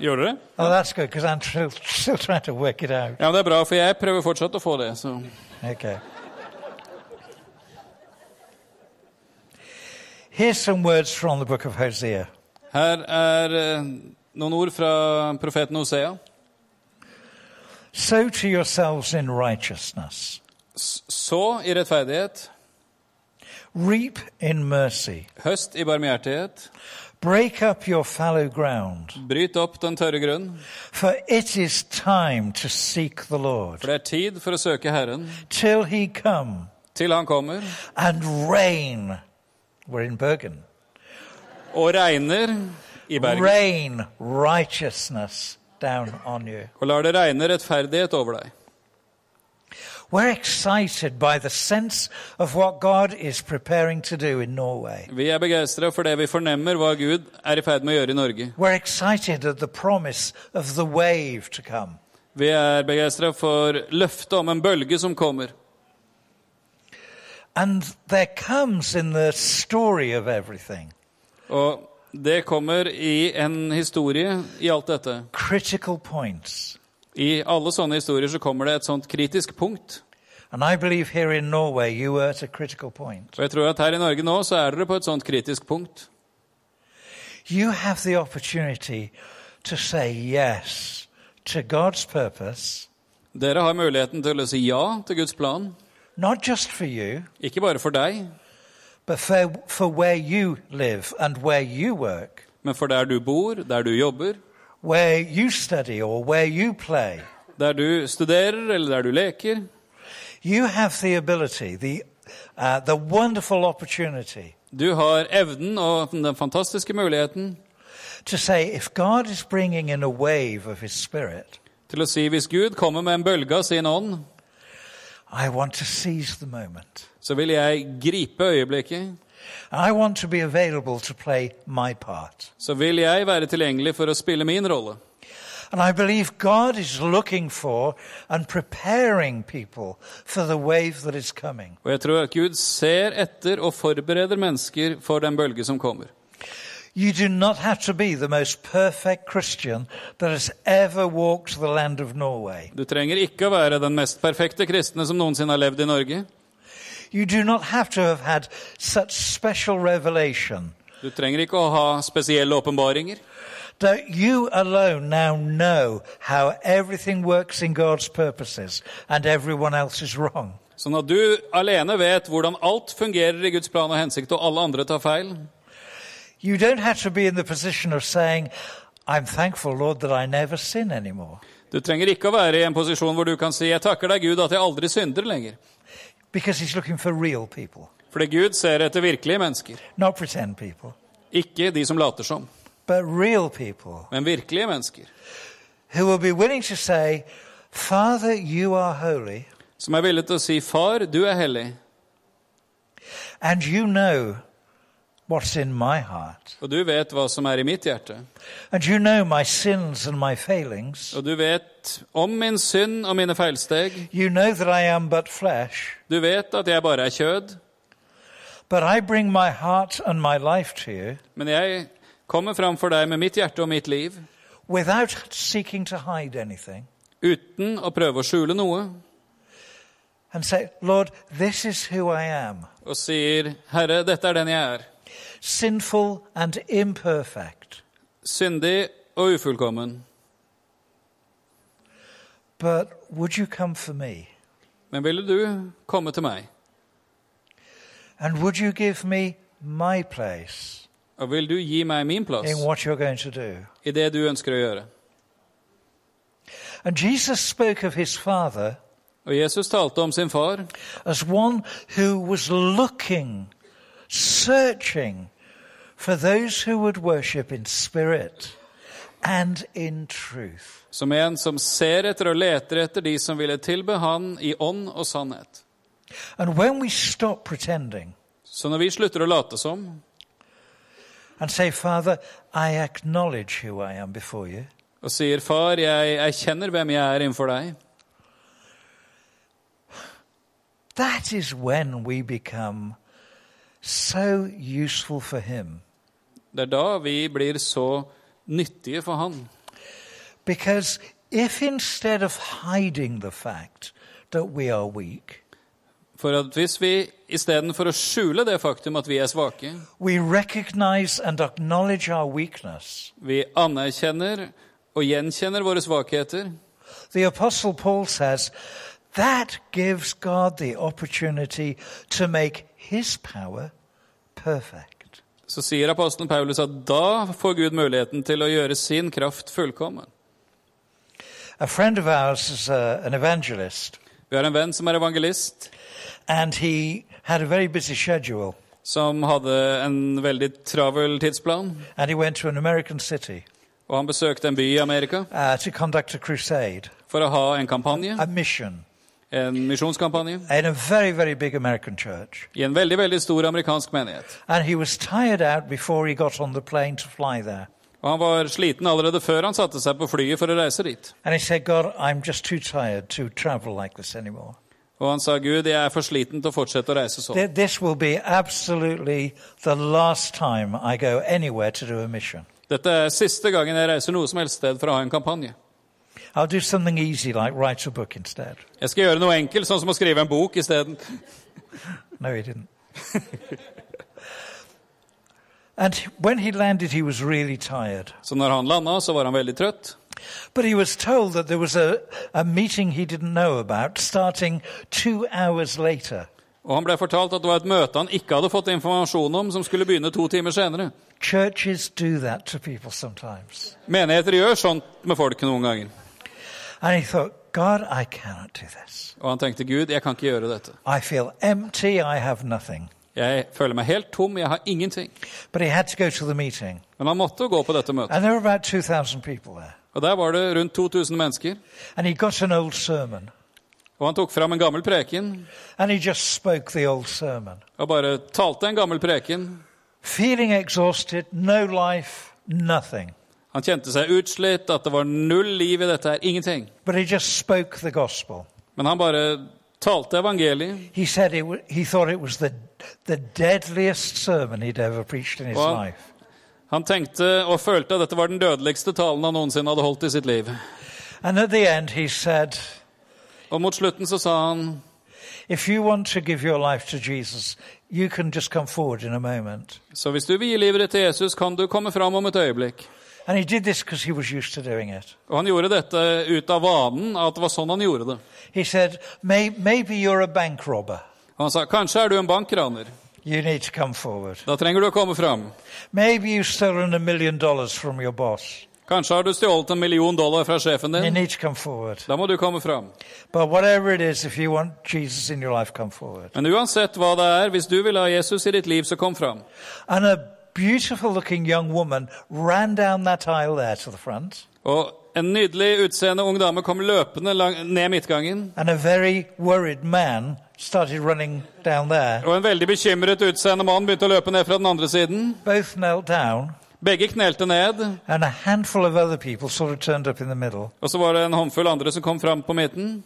S2: Gjorde dere? det?
S1: Oh, that's good, because I'm still, still trying to work it out.
S2: Ja, men Det er bra, for jeg prøver fortsatt å få det. Så.
S1: Okay. Here's some words from the book of Hosea.
S2: Her er eh, noen ord fra profeten Hosea.
S1: Sow to yourselves in righteousness,
S2: S- Så i rettferdighet,
S1: reap in mercy,
S2: høst i barmhjertighet,
S1: break up your fallow ground,
S2: bryt opp den tørre grunn,
S1: for it is time to seek the
S2: for
S1: Lord,
S2: det er tid for å søke Herren,
S1: till he come
S2: til han kommer,
S1: and rain. We're in Bergen.
S2: og regner i Bergen.
S1: Rain righteousness down on you.
S2: og lar det regne rettferdighet over deg.
S1: We're excited by the sense of what God is preparing to do in Norway.
S2: Vi er begeistra for det vi fornemmer hva Gud er i ferd med å gjøre i Norge.
S1: We're excited at the promise of the wave to come.
S2: Vi er begeistra for løftet om en bølge som kommer.
S1: And there comes in the story of everything
S2: Og det kommer i en historie i alt dette.
S1: critical points.
S2: I alle sånne historier så kommer det et sånt kritisk punkt.
S1: And I believe here in Norway you were at a critical point.
S2: Og jeg tror at her i Norge nå så er dere på et sånt kritisk punkt.
S1: You have the opportunity to say yes to God's purpose,
S2: Dere har muligheten til å si ja til Guds plan.
S1: not just for you,
S2: Ikke bare for deg,
S1: but for, for where you live and where you work.
S2: men for der du bor, der du jobber,
S1: where you study or where you play,
S2: der du studerer eller der du leker.
S1: you have the ability, the, uh, the wonderful opportunity
S2: Du har evnen og den fantastiske muligheten
S1: to say, if God is bringing in a wave of His Spirit,
S2: til å si hvis Gud kommer med en bølge av sin ånd,
S1: I want to seize the moment.
S2: så vil jeg gripe øyeblikket.
S1: I want to be available to play my part.
S2: Så vil jeg være tilgjengelig for å spille min rolle.
S1: And I believe God is looking for and preparing people for the wave that is coming.
S2: Og jeg tror at Gud ser etter og forbereder mennesker for den bølge som kommer.
S1: You do not have to be the most perfect Christian that has ever walked the land of Norway.
S2: Du trenger ikke å være den mest perfekte kristne som noensinne har levd i Norge.
S1: You do not have to have had such special revelation
S2: Du trenger ikke å ha spesielle åpenbaringer.
S1: that you alone now know how everything works in God's purposes and everyone else is wrong.
S2: Sånn at du alene vet hvordan alt fungerer i Guds plan og hensikt, og alle andre tar feil.
S1: You don't have to be in the position of saying, I'm thankful, Lord, that I never sin anymore,
S2: Du trenger ikke å være i en posisjon hvor du kan si 'Jeg takker deg, Gud, at jeg aldri synder lenger'.
S1: because He's looking for real people,
S2: Fordi Gud ser etter virkelige mennesker.
S1: not pretend people,
S2: Ikke de som later som,
S1: but real people
S2: men virkelige mennesker.
S1: who will be willing to say, Father, you are holy,
S2: Som er villige til å si 'Far, du er hellig',
S1: and you know what's in my heart.
S2: Og du vet hva som er i mitt hjerte.
S1: And you know my sins and my failings.
S2: Og du vet om min synd og mine feilsteg.
S1: You know that I am but flesh,
S2: Du vet at jeg bare er kjød.
S1: but I bring my heart and my life to you
S2: Men jeg kommer framfor deg med mitt hjerte og mitt liv
S1: without seeking to hide anything
S2: uten å prøve å skjule noe,
S1: and say, Lord, this is who I am,
S2: og sier, Herre, dette er den jeg er.
S1: sinful and imperfect,
S2: Syndig og ufullkommen.
S1: but would you come for me?
S2: Men ville du komme til meg?
S1: And would you give me my place
S2: Og vil du gi meg min plass
S1: in what you're going to do?
S2: i det du ønsker å gjøre?
S1: And Jesus spoke of his Father
S2: Og Jesus talte om sin far
S1: as one who was looking, searching for those who would worship in spirit and in truth.
S2: som en som ser etter og leter etter de som ville tilbe han i ånd og sannhet.
S1: And when we stop pretending
S2: Så når vi slutter å late som
S1: and say, Father, I acknowledge who I am before you,
S2: og sier, 'Far, jeg erkjenner hvem jeg er innenfor deg',
S1: that is when we become so useful for Him.
S2: det er da vi blir så nyttige for han.
S1: Because if instead of hiding the fact that we are weak,
S2: For at hvis vi istedenfor å skjule det faktum at vi er svake,
S1: we recognize and acknowledge our weakness,
S2: vi anerkjenner og gjenkjenner våre svakheter,
S1: the Apostle Paul says that gives God the opportunity to make his power perfect.
S2: så sier apostelen Paulus at da får Gud muligheten til å gjøre sin kraft fullkommen.
S1: A friend of ours is uh an evangelist,
S2: Vi har en venn som er evangelist,
S1: and he had a very busy schedule,
S2: som hadde en veldig travel tidsplan,
S1: and he went to an American city
S2: og han besøkte en by i Amerika
S1: uh, to conduct a crusade,
S2: for å ha en kampanje,
S1: a mission,
S2: en misjonskampanje,
S1: in a very, very big American church.
S2: i en veldig, veldig stor amerikansk menighet.
S1: and he was tired out before he got on the plane to fly there.
S2: Og han var sliten allerede før han satte seg på flyet for å reise dit.
S1: And he said, God, I'm just too tired to travel like this anymore.
S2: Og han sa, Gud, jeg er for sliten til å fortsette å reise sånn.
S1: Th- This will be absolutely the last time I go anywhere to do a mission.
S2: Dette er siste gangen jeg reiser noe som helst sted for å ha en kampanje.
S1: I'll do something easy like write a book instead.
S2: Jeg skal gjøre noe enkelt, sånn som å skrive en bok isteden.
S1: No, he didn't. and when he landed, he was really tired.
S2: Så når han landa, så var han veldig trøtt.
S1: But he was told that there was a, a meeting he didn't know about starting two hours later.
S2: Og han ble fortalt at det var et møte han ikke hadde fått informasjon om, som skulle begynne to timer senere.
S1: Churches do that to people sometimes.
S2: Menigheter gjør sånt med folk noen ganger.
S1: And he thought, God, I cannot do this.
S2: Og han tenkte, Gud, jeg kan ikke gjøre dette.
S1: I feel empty, I have nothing.
S2: Jeg føler meg helt tom, jeg har ingenting.
S1: But he had to go to the meeting.
S2: Men han måtte jo gå på dette møtet.
S1: And there were about 2,000 people there.
S2: Og der var det rundt 2000 mennesker.
S1: And he got an old sermon.
S2: Og han tok fram en gammel preken
S1: And he just spoke the old sermon.
S2: og bare talte en gammel preken.
S1: Feeling exhausted, no life, nothing.
S2: Han kjente seg utslitt, at det var null liv i dette her, ingenting.
S1: But he just spoke the gospel.
S2: Men han bare talte evangeliet,
S1: He said it, wa- he thought it was the, the deadliest sermon he'd ever preached in his
S2: Wow.
S1: life.
S2: Han tenkte og følte at dette var den dødeligste talen han noensinne hadde holdt i sitt liv.
S1: And at the end, he said,
S2: Og mot slutten så sa han
S1: If you want to give your life to Jesus, you can just come forward in a moment.
S2: Så hvis du vil gi livet ditt til Jesus, kan du komme fram om et øyeblikk.
S1: And he did this because he was used to doing it.
S2: Og han gjorde dette ut av vanen, at det var sånn han gjorde det.
S1: He said, May, Maybe you're a bank robber.
S2: Og han sa, kanskje er du en bankraner.
S1: You need to come forward.
S2: Da trenger du å komme fram.
S1: Maybe you've stolen a million dollars from your boss.
S2: Kanskje har du stjålet en million dollar fra sjefen
S1: You
S2: din.
S1: need to come forward.
S2: Da må du komme fram.
S1: But whatever it is, if you want Jesus in your life, come forward.
S2: Men uansett hva det er, hvis du vil ha Jesus i ditt liv, så kom fram.
S1: And a beautiful looking young woman ran down that aisle there to the front.
S2: Og en nydelig utseende ung dame kom løpende lang ned midtgangen.
S1: And a very worried man started running down there.
S2: Og en veldig bekymret utseende mann begynte å løpe ned fra den andre siden.
S1: Both knelt down,
S2: Begge knelte ned,
S1: and a handful of other people sort of turned up in the middle.
S2: og så var det en håndfull andre som kom fram på midten.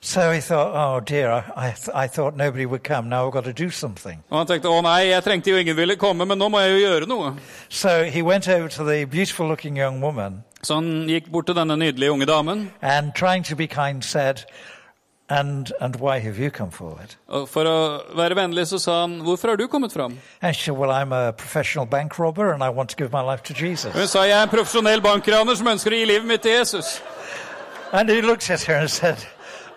S1: So he thought, oh dear, I, I, th- I thought nobody would come. Now I've got to do something.
S2: Og han tenkte å nei, jeg trengte jo ingen ville komme, men nå må jeg jo gjøre noe.
S1: So he went over to the beautiful looking young woman
S2: Så han gikk bort til denne nydelige unge damen
S1: and, trying to be kind, said, and, and why have you come forward?
S2: og for å være vennlig så sa han hvorfor har du kommet fram?
S1: And she said, well, I'm a professional bank robber and I want to give my life to Jesus.
S2: Hun sa jeg er en profesjonell bankraner som ønsker å gi livet mitt til Jesus.
S1: And he looked at her and said,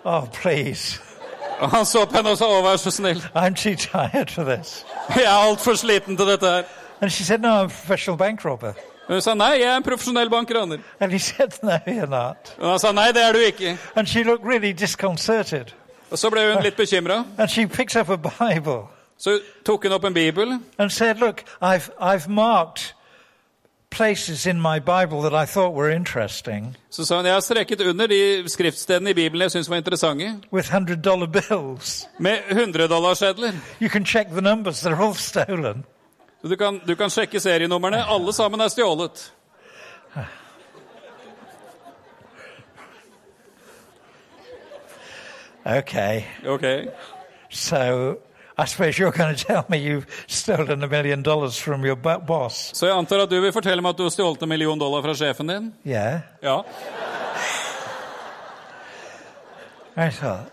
S1: oh, please,
S2: Og han så på henne og sa å vær så snill,
S1: I'm too tired for this.
S2: jeg er altfor sliten til dette her.
S1: And she said, no, I'm a professional bank robber.
S2: Hun sa nei, jeg er en profesjonell bankraner.
S1: And he said, no, you're not.
S2: Og han sa nei, det er du ikke.
S1: And she looked really disconcerted.
S2: Og så ble hun litt bekymra.
S1: And she picked up a Bible
S2: Så tok hun opp en bibel
S1: and said, Look, I've, I've marked places in my Bible that I thought were interesting
S2: Så sa hun jeg har strekket under de skriftstedene i Bibelen jeg syns var interessante,
S1: with $100 bills.
S2: med 100-dollarsedler.
S1: You can check the numbers, they're all stolen.
S2: Så Du kan, du kan sjekke serienumrene. Alle sammen er stjålet.
S1: Okay,
S2: Ok.
S1: so I suppose you're going to tell me you've stolen a million dollars from your bo- boss.
S2: Så jeg antar at du vil fortelle meg at du har stjålet en million dollar fra sjefen din?
S1: Yeah.
S2: Ja.
S1: I thought.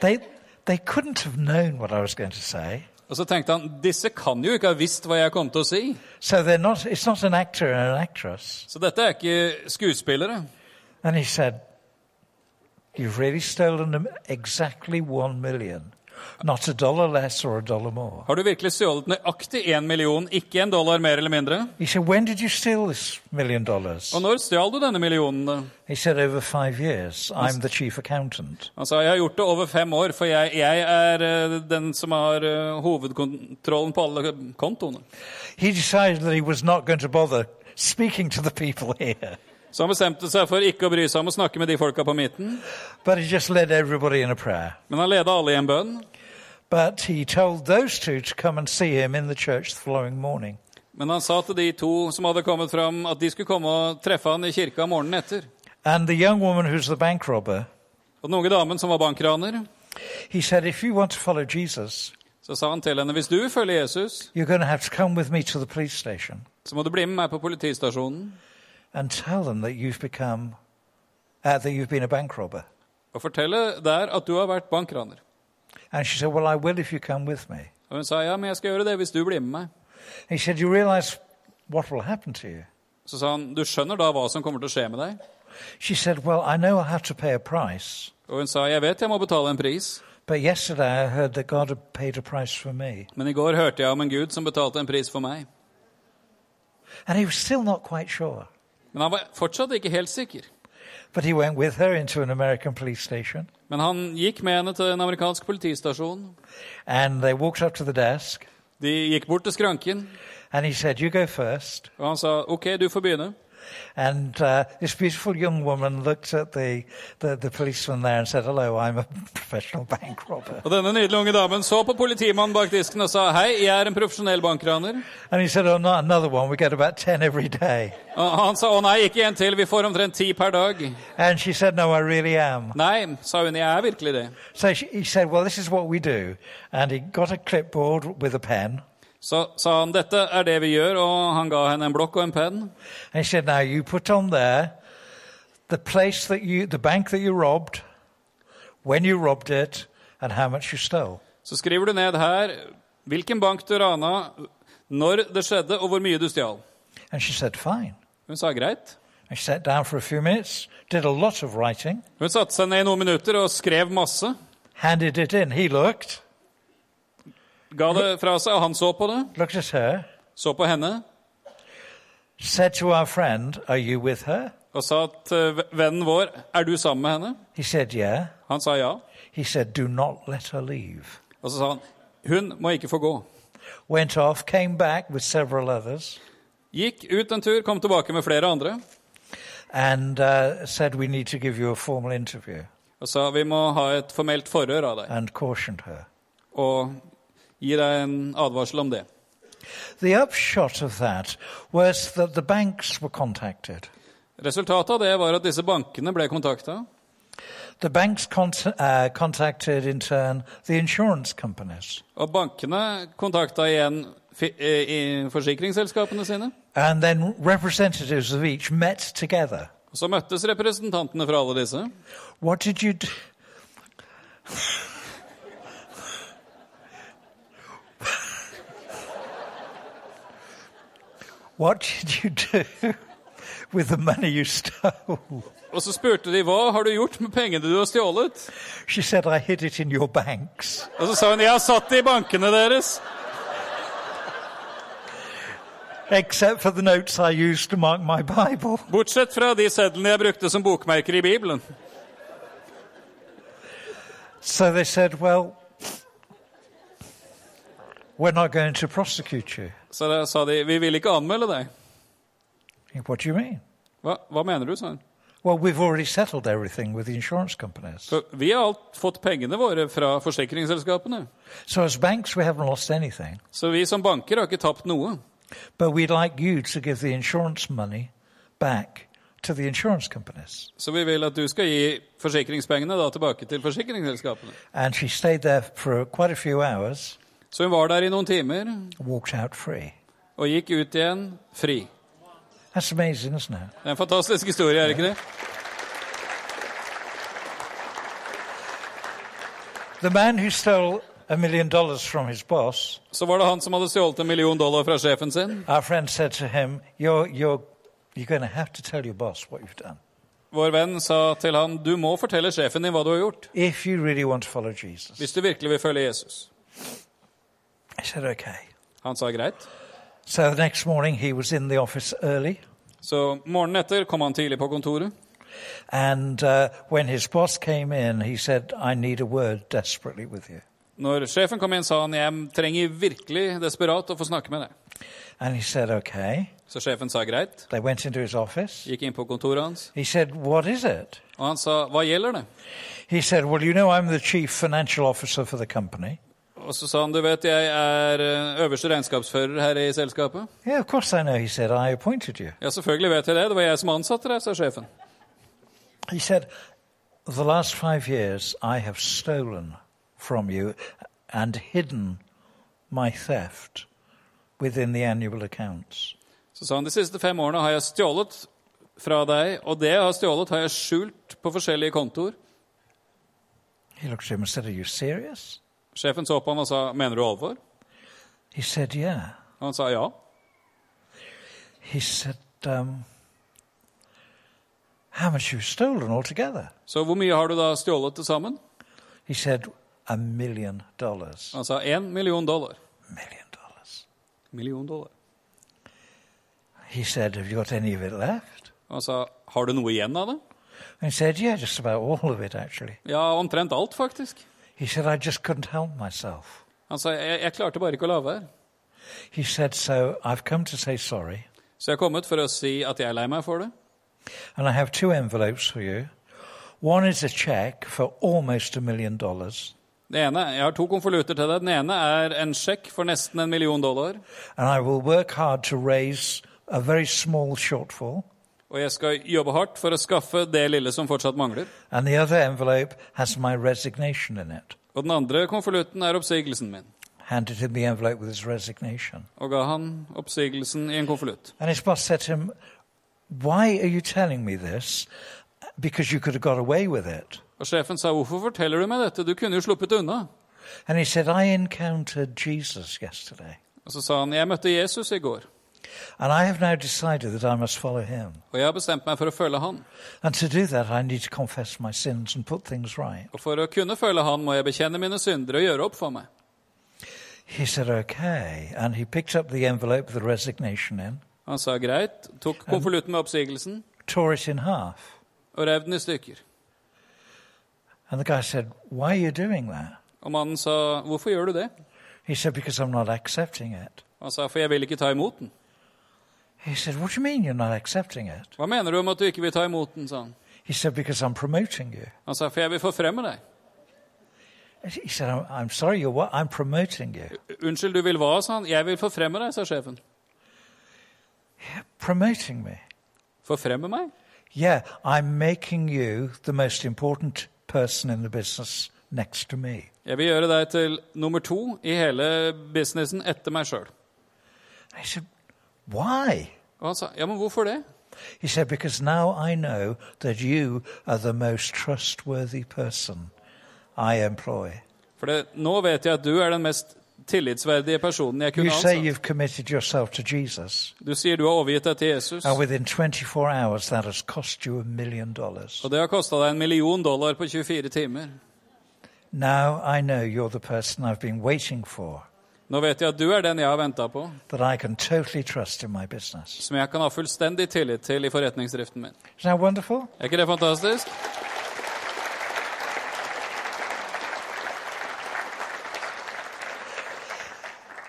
S1: They, they couldn't have known what I was going to say.
S2: Og så tenkte han disse kan jo ikke ha visst hva jeg kom til å si.
S1: So they're not, it's not an actor and an actress.
S2: Så dette er ikke skuespillere.
S1: And he said, You've really stolen them exactly one million, not a dollar less or a dollar more.
S2: Har du virkelig stjålet nøyaktig én million, ikke en dollar mer eller mindre?
S1: He said, When did you steal this million dollars?
S2: Og når stjal du denne millionen? da?
S1: He said, Over five years. I'm the chief accountant.
S2: Han sa jeg har gjort det over fem år, for jeg, jeg er eh, den som har eh, hovedkontrollen på alle kontoene.
S1: He decided that he was not going to bother speaking to the people here,
S2: Så han bestemte seg for ikke å bry seg om å snakke med de folka på midten.
S1: but he just led everybody in a prayer.
S2: Men han leda alle i en bønn.
S1: But he told those two to come and see him in the church the following morning.
S2: Men han sa til de to som hadde kommet fram, at de skulle komme og treffe han i kirka morgenen etter.
S1: And the young woman who's the bank robber,
S2: Og den unge damen som var bankraner,
S1: he said, If you want to follow Jesus,
S2: så sa han til henne hvis du følger Jesus,
S1: you're going to have to come with me to the police station.
S2: så må du bli med meg på politistasjonen
S1: and tell them that you've become uh, that you've been a bank robber.
S2: og fortelle der at du har vært bankraner.
S1: And she said, "Well, I will if you come with me."
S2: Og hun sa ja, men jeg skal gjøre det hvis du blir med meg.
S1: He said, "You realize what will happen to you?"
S2: Så sa han du skjønner da hva som kommer til å skje med deg?
S1: She said, "Well, I know I'll have to pay a price,
S2: Og hun sa jeg vet jeg må betale en pris,
S1: but yesterday I heard that God had paid a price for me."
S2: men i går hørte jeg om en gud som betalte en pris for meg.
S1: And he was still not quite sure,
S2: Men han var fortsatt ikke helt sikker.
S1: but he went with her into an American police station,
S2: Men han gikk med henne til en amerikansk politistasjon.
S1: and they walked up to the desk,
S2: De gikk bort til skranken,
S1: and he said, "You go first.
S2: og han sa OK, du får begynne.
S1: And uh, this beautiful young woman looked at the, the, the policeman there and said, "Hello, I'm a professional bank robber."
S2: Og denne nydelige unge damen så på politimannen bak disken og sa hei, jeg er en profesjonell bankraner.
S1: And he said, Oh, not another one. We get about 10 every day.
S2: Og han sa å nei, ikke en til, vi får omtrent ti per dag.
S1: And she said, No, I really am.
S2: Nei, sa hun, jeg er virkelig det.
S1: So she, he said, Well, this is what we do. And he got a clipboard with a pen.
S2: Så sa han dette er det vi gjør, og han ga henne en blokk og en penn.
S1: And he said, Now you put on there the place that you, the bank that you robbed, when you robbed it, and how much you stole.
S2: Så skriver du ned her hvilken bank du rana, når det skjedde, og hvor mye du stjal.
S1: And she said, Fine.
S2: Hun sa greit.
S1: And she sat down for a few minutes, did a lot of writing,
S2: Hun satte seg ned i noen minutter og skrev masse.
S1: handed it in. He looked,
S2: Ga det fra seg, og han så på det.
S1: looked at her,
S2: Så på henne
S1: said to our friend, Are you with her?
S2: og sa til vennen vår er du sammen med henne.
S1: He said, Yeah.
S2: Han sa ja.
S1: He said, Do not let her leave.
S2: Og så sa han hun må ikke få gå.
S1: went off, came back with several others,
S2: Gikk ut en tur, kom tilbake med flere andre
S1: and uh, said, We need to give you a formal interview.
S2: og sa vi må ha et formelt forhør av deg,
S1: and cautioned her.
S2: og gi deg en advarsel om det.
S1: The upshot of that was that the banks were contacted.
S2: Resultatet av det var at disse bankene ble kontakta.
S1: The banks cont- uh, contacted, in turn, the insurance companies.
S2: Og bankene kontakta igjen fi- eh, i forsikringsselskapene sine.
S1: And then representatives of each met together.
S2: Og så møttes representantene fra alle disse.
S1: What did you do? what did you do with the money you stole?
S2: Og så spurte de hva har du gjort med pengene du har stjålet.
S1: She said, I hid it in your banks.
S2: Og så sa hun jeg har satt det i bankene deres.
S1: Except for the notes I used to mark my Bible.
S2: Bortsett fra de sedlene jeg brukte som bokmerker i Bibelen.
S1: So they said, Well, we're not going to prosecute you.
S2: Så da sa de vi vil ikke anmelde deg.
S1: What do you mean?
S2: Hva, hva mener du, sa hun.
S1: Well, we've already settled everything with the insurance companies.
S2: For vi har alt fått pengene våre fra forsikringsselskapene.
S1: So, as banks, we haven't lost anything.
S2: Så vi som banker har ikke tapt noe.
S1: But we'd like you to give the insurance money back to the insurance companies.
S2: Så vi vil at du skal gi forsikringspengene da tilbake til forsikringsselskapene.
S1: And she stayed there for quite a few hours,
S2: Så hun var der i noen timer
S1: walked out free.
S2: og gikk ut igjen fri.
S1: That's amazing, isn't it?
S2: Det er en fantastisk historie, er det ikke det?
S1: The man who stole a million dollars from his boss,
S2: Så var det han som hadde stjålet en million dollar fra sjefen sin.
S1: our friend said to him, You're, you're, you're going to have to tell your boss what you've done
S2: Vår venn sa til han, du må fortelle sjefen din hva du har gjort,
S1: if you really want to follow Jesus.
S2: hvis du virkelig vil følge Jesus.
S1: I said, Okay.
S2: Han sa greit.
S1: So the next morning he was in the office early.
S2: Så morgenen etter kom han tidlig på kontoret.
S1: And uh, when his boss came in, he said, I need a word desperately with you.
S2: Når sjefen kom inn, sa han, jeg trenger virkelig desperat å få snakke med deg.
S1: And he said, Okay.
S2: Så sjefen sa greit,
S1: They went into his office.
S2: gikk inn på kontoret hans,
S1: He said, What is it?
S2: og han sa, hva gjelder det?
S1: He said, Well, you know, I'm the chief financial officer for the company.
S2: Og så sa han, du vet, jeg er eh, øverste regnskapsfører her i selskapet.
S1: Yeah, of course I know. He said, I appointed you.
S2: Ja, selvfølgelig vet jeg det, det var jeg som ansatte deg, sa sjefen.
S1: He said, The last five years I have stolen from you and hidden my theft within the annual accounts.
S2: Så sa han de siste fem årene har jeg stjålet fra deg, og det jeg har stjålet, har jeg skjult på forskjellige kontor.
S1: He looked at him and said, Are you serious?
S2: Sjefen så på han og sa mener du alvor?
S1: He said, Yeah.
S2: Og han sa ja.
S1: He said, um, How much you've stolen altogether?
S2: Så hvor mye har du da stjålet til sammen?
S1: He said, A million dollars.
S2: Han sa én million dollar.
S1: Million dollars.
S2: Million dollar.
S1: He said, Have you got any of it left?
S2: Og han sa har du noe igjen av det?
S1: And he said, Yeah, just about all of it, actually.
S2: Ja, omtrent alt, faktisk.
S1: He said, I just couldn't help myself.
S2: Han sa jeg, jeg klarte bare ikke å la være.
S1: He said, So I've come to say sorry,
S2: Så jeg er kommet for å si at jeg er lei meg for det.
S1: and I have two envelopes for you. One is a check for almost a million dollars,
S2: Det ene, Jeg har to konvolutter til deg. Den ene er en sjekk for nesten en million dollar.
S1: and I will work hard to raise a very small shortfall.
S2: Og jeg skal jobbe hardt for å skaffe det lille som fortsatt mangler.
S1: And the other envelope has my resignation in it.
S2: Og den andre konvolutten er oppsigelsen min.
S1: handed him the envelope with his resignation.
S2: Og ga han oppsigelsen i en konvolutt.
S1: And his boss said to him, Why are you telling me this? Because you could have got away with it.
S2: Og sjefen sa, 'Hvorfor forteller du meg dette? Du kunne jo sluppet unna.'
S1: And he said, I encountered Jesus yesterday,
S2: Og så sa han, 'Jeg møtte Jesus i går,
S1: and I have now decided that I must follow him.
S2: og jeg har bestemt meg for å følge han.'
S1: And to do that, I need to confess my sins and put things right.
S2: 'Og for å kunne følge han må jeg bekjenne mine synder og gjøre opp for meg.'
S1: He said, Okay. And he picked up the envelope with the resignation in,
S2: Han sa greit, tok konvolutten med oppsigelsen
S1: tore it in half.
S2: og rev den i stykker.
S1: And the guy said, Why are you doing that?
S2: Og mannen sa, 'Hvorfor gjør du det?'
S1: He said, Because I'm not accepting it.
S2: Han sa, 'For jeg vil ikke ta imot den'.
S1: He said, What do you mean you're not accepting it?
S2: Hva mener du om at du ikke vil ta imot den, sa han.
S1: He He said, Because I'm promoting you.
S2: Han sa, for jeg vil forfremme deg.
S1: He said, I'm, I'm sorry, you're what? I'm promoting you.
S2: Unnskyld, du vil hva, sa han. Jeg vil forfremme deg, sa sjefen.
S1: Promoting me.
S2: Forfremme meg?
S1: Yeah, I'm making you the most important person in the business next to me.
S2: Jeg vil gjøre deg til nummer to i hele businessen etter meg sjøl.
S1: I said, Why?
S2: Og han sa, ja, men hvorfor det?
S1: He said, Because now I know that you are the most trustworthy person I employ.
S2: For det, nå vet jeg at du er den mest tillitsverdige personen jeg
S1: You
S2: kunne
S1: say
S2: ansatt.
S1: you've committed yourself to Jesus,
S2: Du sier du har overgitt deg til Jesus,
S1: and within 24 hours, that has cost you a million dollars.
S2: og det har kosta deg en million dollar på 24 timer.
S1: Now I know you're the person I've been waiting for,
S2: Nå vet jeg at du er den jeg har venta på,
S1: that I can totally trust in my business.
S2: som jeg kan ha fullstendig tillit til i forretningsdriften min.
S1: Isn't that wonderful?
S2: Er ikke det fantastisk?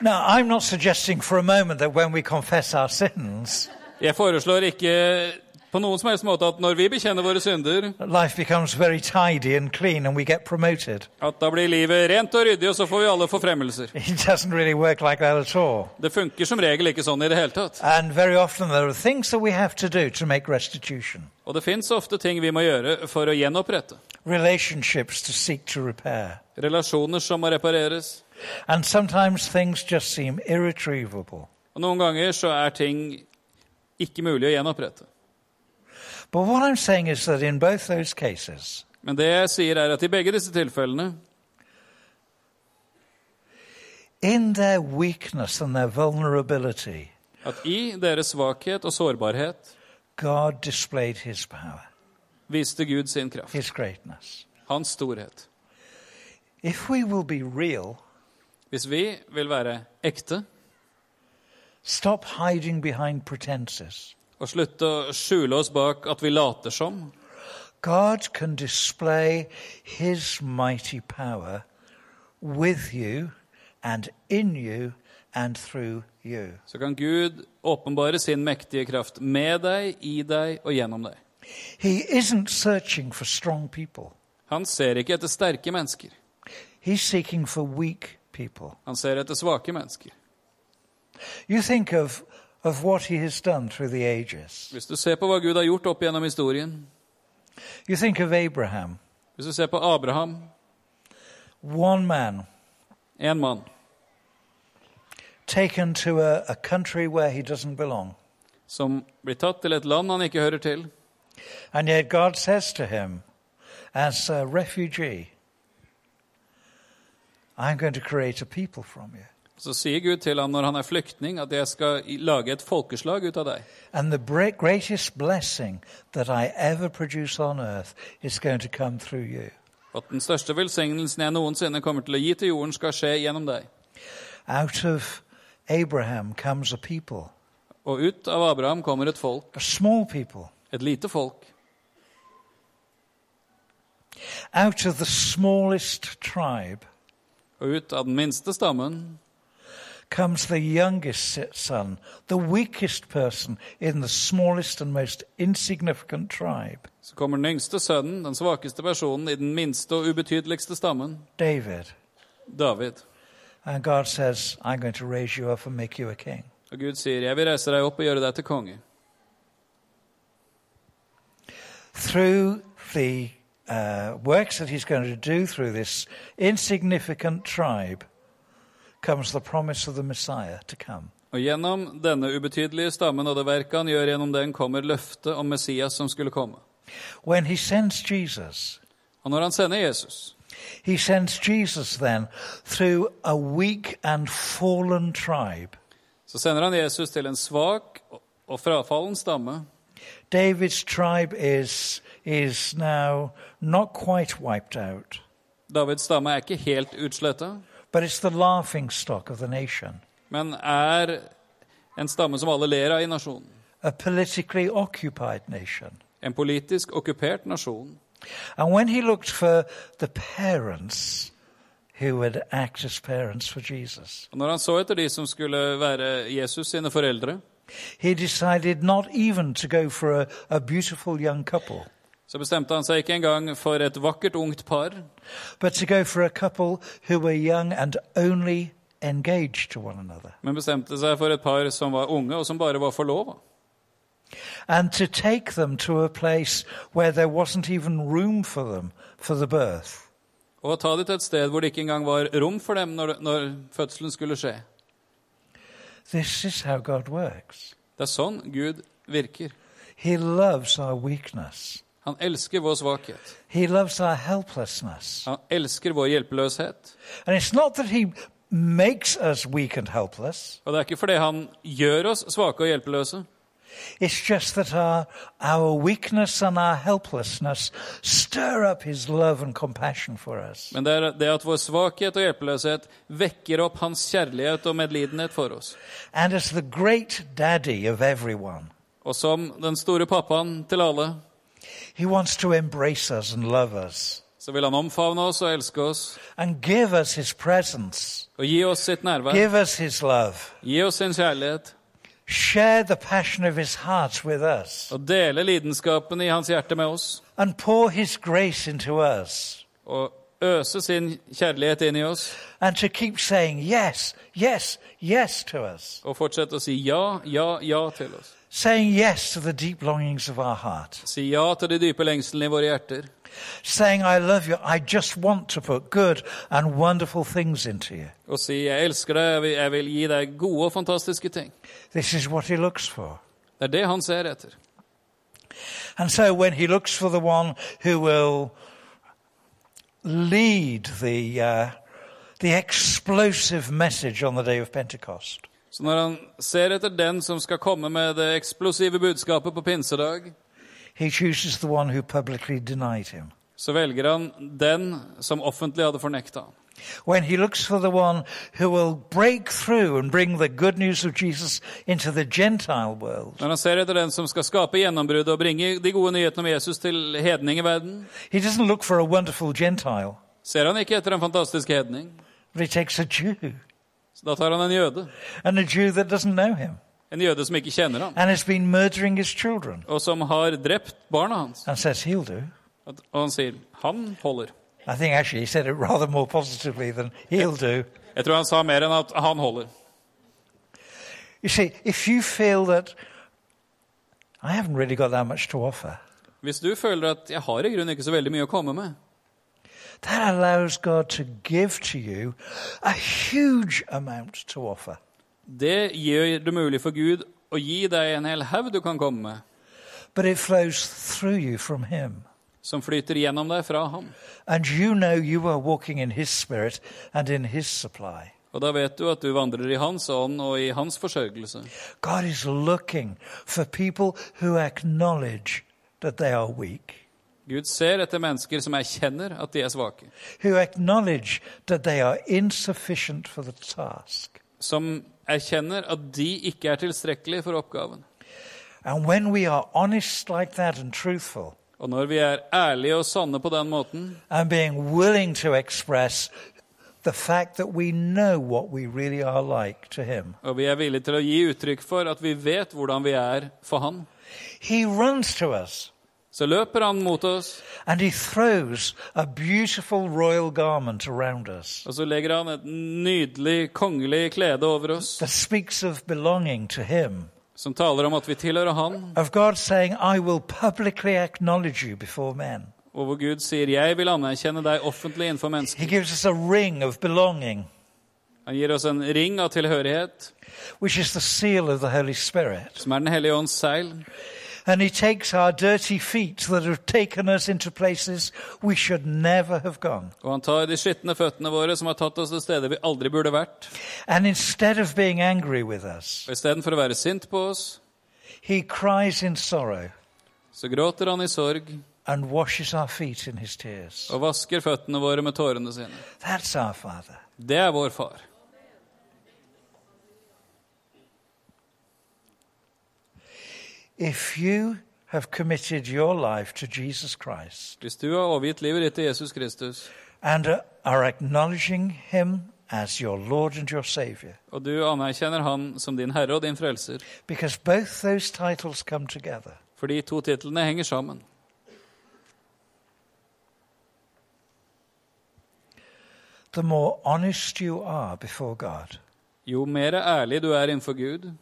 S1: Now, I'm not suggesting for a moment that when we confess our sins,
S2: Jeg foreslår ikke på noen som helst måte at når vi bekjenner våre synder,
S1: that life becomes very tidy and clean and we get promoted.
S2: at da blir livet rent og ryddig, og så får vi alle forfremmelser.
S1: It doesn't really work like that at all.
S2: Det funker som regel ikke sånn i det hele tatt.
S1: And very often there are things that we have to do to make restitution,
S2: Og det fins ofte ting vi må gjøre for å gjenopprette.
S1: relationships to seek to repair.
S2: Relasjoner som må repareres.
S1: And sometimes things just seem irretrievable.
S2: Og noen ganger så er ting ikke mulig å gjenopprette.
S1: But what I'm saying is that in both those cases,
S2: Men det jeg sier, er at i begge disse tilfellene,
S1: in their weakness and their vulnerability,
S2: at i deres svakhet og sårbarhet
S1: God displayed his power,
S2: viste Gud sin kraft,
S1: his greatness.
S2: hans storhet.
S1: If we will be real,
S2: Hvis vi vil være ekte
S1: stop hiding behind pretenses.
S2: og slutte å skjule oss bak at vi later som,
S1: God can display his mighty power with you and in you and through you.
S2: så kan Gud åpenbare sin mektige kraft med deg, i deg og gjennom deg.
S1: He isn't searching for strong people,
S2: Han ser ikke etter sterke mennesker,
S1: he's seeking for weak people.
S2: han ser etter svake mennesker.
S1: You think of, of what he has done through the ages.
S2: Hvis du ser på hva Gud har gjort opp gjennom historien,
S1: You think of Abraham,
S2: hvis du ser på Abraham,
S1: one man
S2: én mann,
S1: taken to a, a country where he doesn't belong.
S2: som blir tatt til et land han ikke hører til,
S1: And yet God says to him, as a refugee, I'm going to create a people from you.
S2: så sier Gud til ham når han er flyktning, at jeg skal i- lage et folkeslag ut av deg.
S1: And the bra- greatest blessing that I ever produce on earth is going to come through you.
S2: Og at den største velsignelsen jeg noensinne kommer til å gi til jorden, skal skje gjennom deg.
S1: Out of Abraham comes a people,
S2: Og ut av Abraham kommer et folk,
S1: a small people.
S2: et lite folk.
S1: Out of the smallest tribe
S2: Og ut av den minste stammen
S1: comes the youngest si- son, the weakest person in the smallest and most insignificant tribe,
S2: så kommer den yngste sønnen, den svakeste personen i den minste og ubetydeligste stammen,
S1: David.
S2: David.
S1: And God says, I'm going to raise you up and make you a king.
S2: Og Gud sier, 'Jeg vil reise deg opp og gjøre deg til konge'.
S1: Through the uh, works that he's going to do through this insignificant tribe comes the promise of the Messiah to come.
S2: Og gjennom denne ubetydelige stammen og det verket han gjør gjennom den, kommer løftet om Messias som skulle komme.
S1: When he sends Jesus,
S2: Og når han sender Jesus,
S1: he sends Jesus then through a weak and fallen tribe.
S2: så sender han Jesus til en svak og frafallen stamme.
S1: David's tribe is, is now not quite wiped out,
S2: Davids stamme er ikke helt utsletta,
S1: but it's the laughing stock of the nation,
S2: men er en stamme som alle ler av i nasjonen.
S1: a politically occupied nation.
S2: En politisk okkupert nasjon.
S1: And when he looked for the parents who would act as parents for Jesus,
S2: Og når han så etter de som skulle være Jesus sine foreldre,
S1: he decided not even to go for a, a beautiful young couple,
S2: Så bestemte han seg ikke engang for et vakkert ungt par,
S1: but to go for a couple who were young and only engaged to one another,
S2: men bestemte seg for et par som var unge, og som bare var forlova.
S1: and to take them to a place where there wasn't even room for them for the birth.
S2: Og ta det til et sted hvor det ikke engang var rom for dem når, når fødselen skulle skje.
S1: This is how God works.
S2: Det er sånn Gud virker.
S1: He loves our weakness,
S2: Han elsker vår svakhet.
S1: He loves our helplessness.
S2: Han elsker vår hjelpeløshet.
S1: And it's not that He makes us weak and helpless,
S2: Og det er ikke fordi han gjør oss svake og hjelpeløse,
S1: it's just that our, our weakness and our helplessness stir up His love and compassion for us.
S2: men det er det at vår svakhet og hjelpeløshet vekker opp hans kjærlighet og medlidenhet for oss.
S1: And as the great daddy of everyone,
S2: Og som den store pappaen til alle,
S1: He wants to embrace us and love us
S2: så vil han omfavne oss og elske oss
S1: and give us His presence,
S2: og gi oss sitt nærvær,
S1: give us His love,
S2: gi oss sin kjærlighet
S1: share the passion of His heart with us,
S2: og dele lidenskapen i hans hjerte med oss
S1: and pour His grace into us,
S2: og øse sin kjærlighet inn i oss
S1: and to keep saying yes, yes, yes to us,
S2: og fortsette å si ja, ja, ja til oss.
S1: saying yes to the deep longings of our heart,
S2: Si ja til de dype lengslene i våre hjerter.
S1: saying, I love you, I just want to put good and wonderful things into you.
S2: Og si 'jeg elsker deg, jeg vil, jeg vil gi deg gode og fantastiske ting'.
S1: This is what He looks for.
S2: Det er det han ser etter.
S1: And so when he looks for the one who will lead the, uh, the explosive message on the day of Pentecost,
S2: Så når han ser etter den som skal komme med det eksplosive budskapet på pinsedag,
S1: he chooses the one who publicly denied him.
S2: så velger han den som offentlig hadde fornekta han.
S1: When he looks for the one who will break through and bring the good news of Jesus into the Gentile world,
S2: Når han ser etter den som skal skape gjennombruddet og bringe de gode nyhetene om Jesus til hedningeverden,
S1: he doesn't look for a wonderful Gentile,
S2: ser han ikke etter en fantastisk hedning.
S1: but he takes a Jew,
S2: Så da tar han en jøde.
S1: and a Jew that doesn't know him
S2: En jøde som ikke kjenner ham,
S1: and has been murdering his children,
S2: og som har drept barna hans.
S1: and says he'll do.
S2: At- Og han sier 'han holder'.
S1: I think actually he said it rather more positively than he'll do.
S2: Jeg tror han sa mer enn at 'han holder'.
S1: You see, if you feel that I haven't really got that much to offer,
S2: Hvis du føler at 'jeg har i grunnen ikke så veldig mye å komme med',
S1: that allows God to give to you a huge amount to offer.
S2: Det gjør det mulig for Gud å gi deg en hel haug du kan komme med,
S1: But it flows through you from Him.
S2: som flyter gjennom deg fra ham.
S1: And you know you are walking in His Spirit and in His supply.
S2: Og da vet du at du vandrer i hans ånd og i hans forsørgelse.
S1: God is looking for people who acknowledge that they are weak,
S2: Gud ser etter mennesker som erkjenner at de er svake,
S1: who acknowledge that they are insufficient for the task.
S2: som erkjenner at de ikke er tilstrekkelige for oppgaven.
S1: And when we are honest like that and truthful,
S2: Og når vi er ærlige og sanne på den måten,
S1: and being willing to express the fact that we know what we really are like to Him,
S2: og vi er villige til å gi uttrykk for at vi vet hvordan vi er for han,
S1: He runs to us
S2: så løper han mot oss,
S1: and He throws a beautiful royal garment around us
S2: og så legger han et nydelig kongelig klede over oss,
S1: that speaks of belonging to Him,
S2: som taler om at vi tilhører han,
S1: of God saying, I will publicly acknowledge you before men.
S2: Og hvor Gud sier 'Jeg vil anerkjenne deg offentlig innenfor mennesker'.
S1: He gives us a ring of belonging,
S2: Han gir oss en ring av tilhørighet,
S1: which is the seal of the Holy Spirit.
S2: som er Den hellige ånds seil.
S1: And he takes our dirty feet that have taken us into places we should never have gone.
S2: Og han tar de skitne føttene våre, som har tatt oss til steder vi aldri burde vært.
S1: And instead of being angry with us,
S2: Og istedenfor å være sint på oss,
S1: he cries in sorrow
S2: så gråter han i sorg
S1: and washes our feet in his tears.
S2: og vasker føttene våre med tårene sine.
S1: That's our Father.
S2: Det er vår far.
S1: If you have committed your life to Jesus Christ
S2: Hvis du har overgitt livet ditt til Jesus Kristus,
S1: and are acknowledging him as your Lord and your Savior,
S2: og du anerkjenner Han som din Herre og din Frelser,
S1: because both those titles come together,
S2: for de to titlene henger sammen,
S1: the more honest you are before God,
S2: Jo mer ærlig du er innenfor Gud,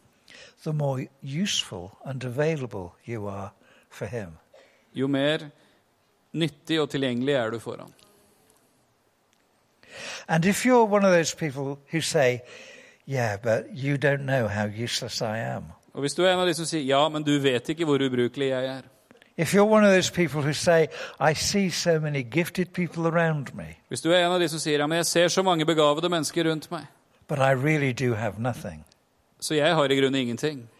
S1: the more useful and available you are for Him.
S2: jo mer nyttig og tilgjengelig er du for ham.
S1: And if you're one of those people who say, Yeah, but you don't know how useless I am.
S2: Og hvis du er en av de som sier 'ja, men du vet ikke hvor ubrukelig jeg er',
S1: If you're one of those people who say, I see so many gifted people around me,
S2: hvis du er en av de som sier 'ja, men jeg ser så mange begavede mennesker rundt meg',
S1: but I really do have nothing,
S2: så jeg har i grunnen ingenting,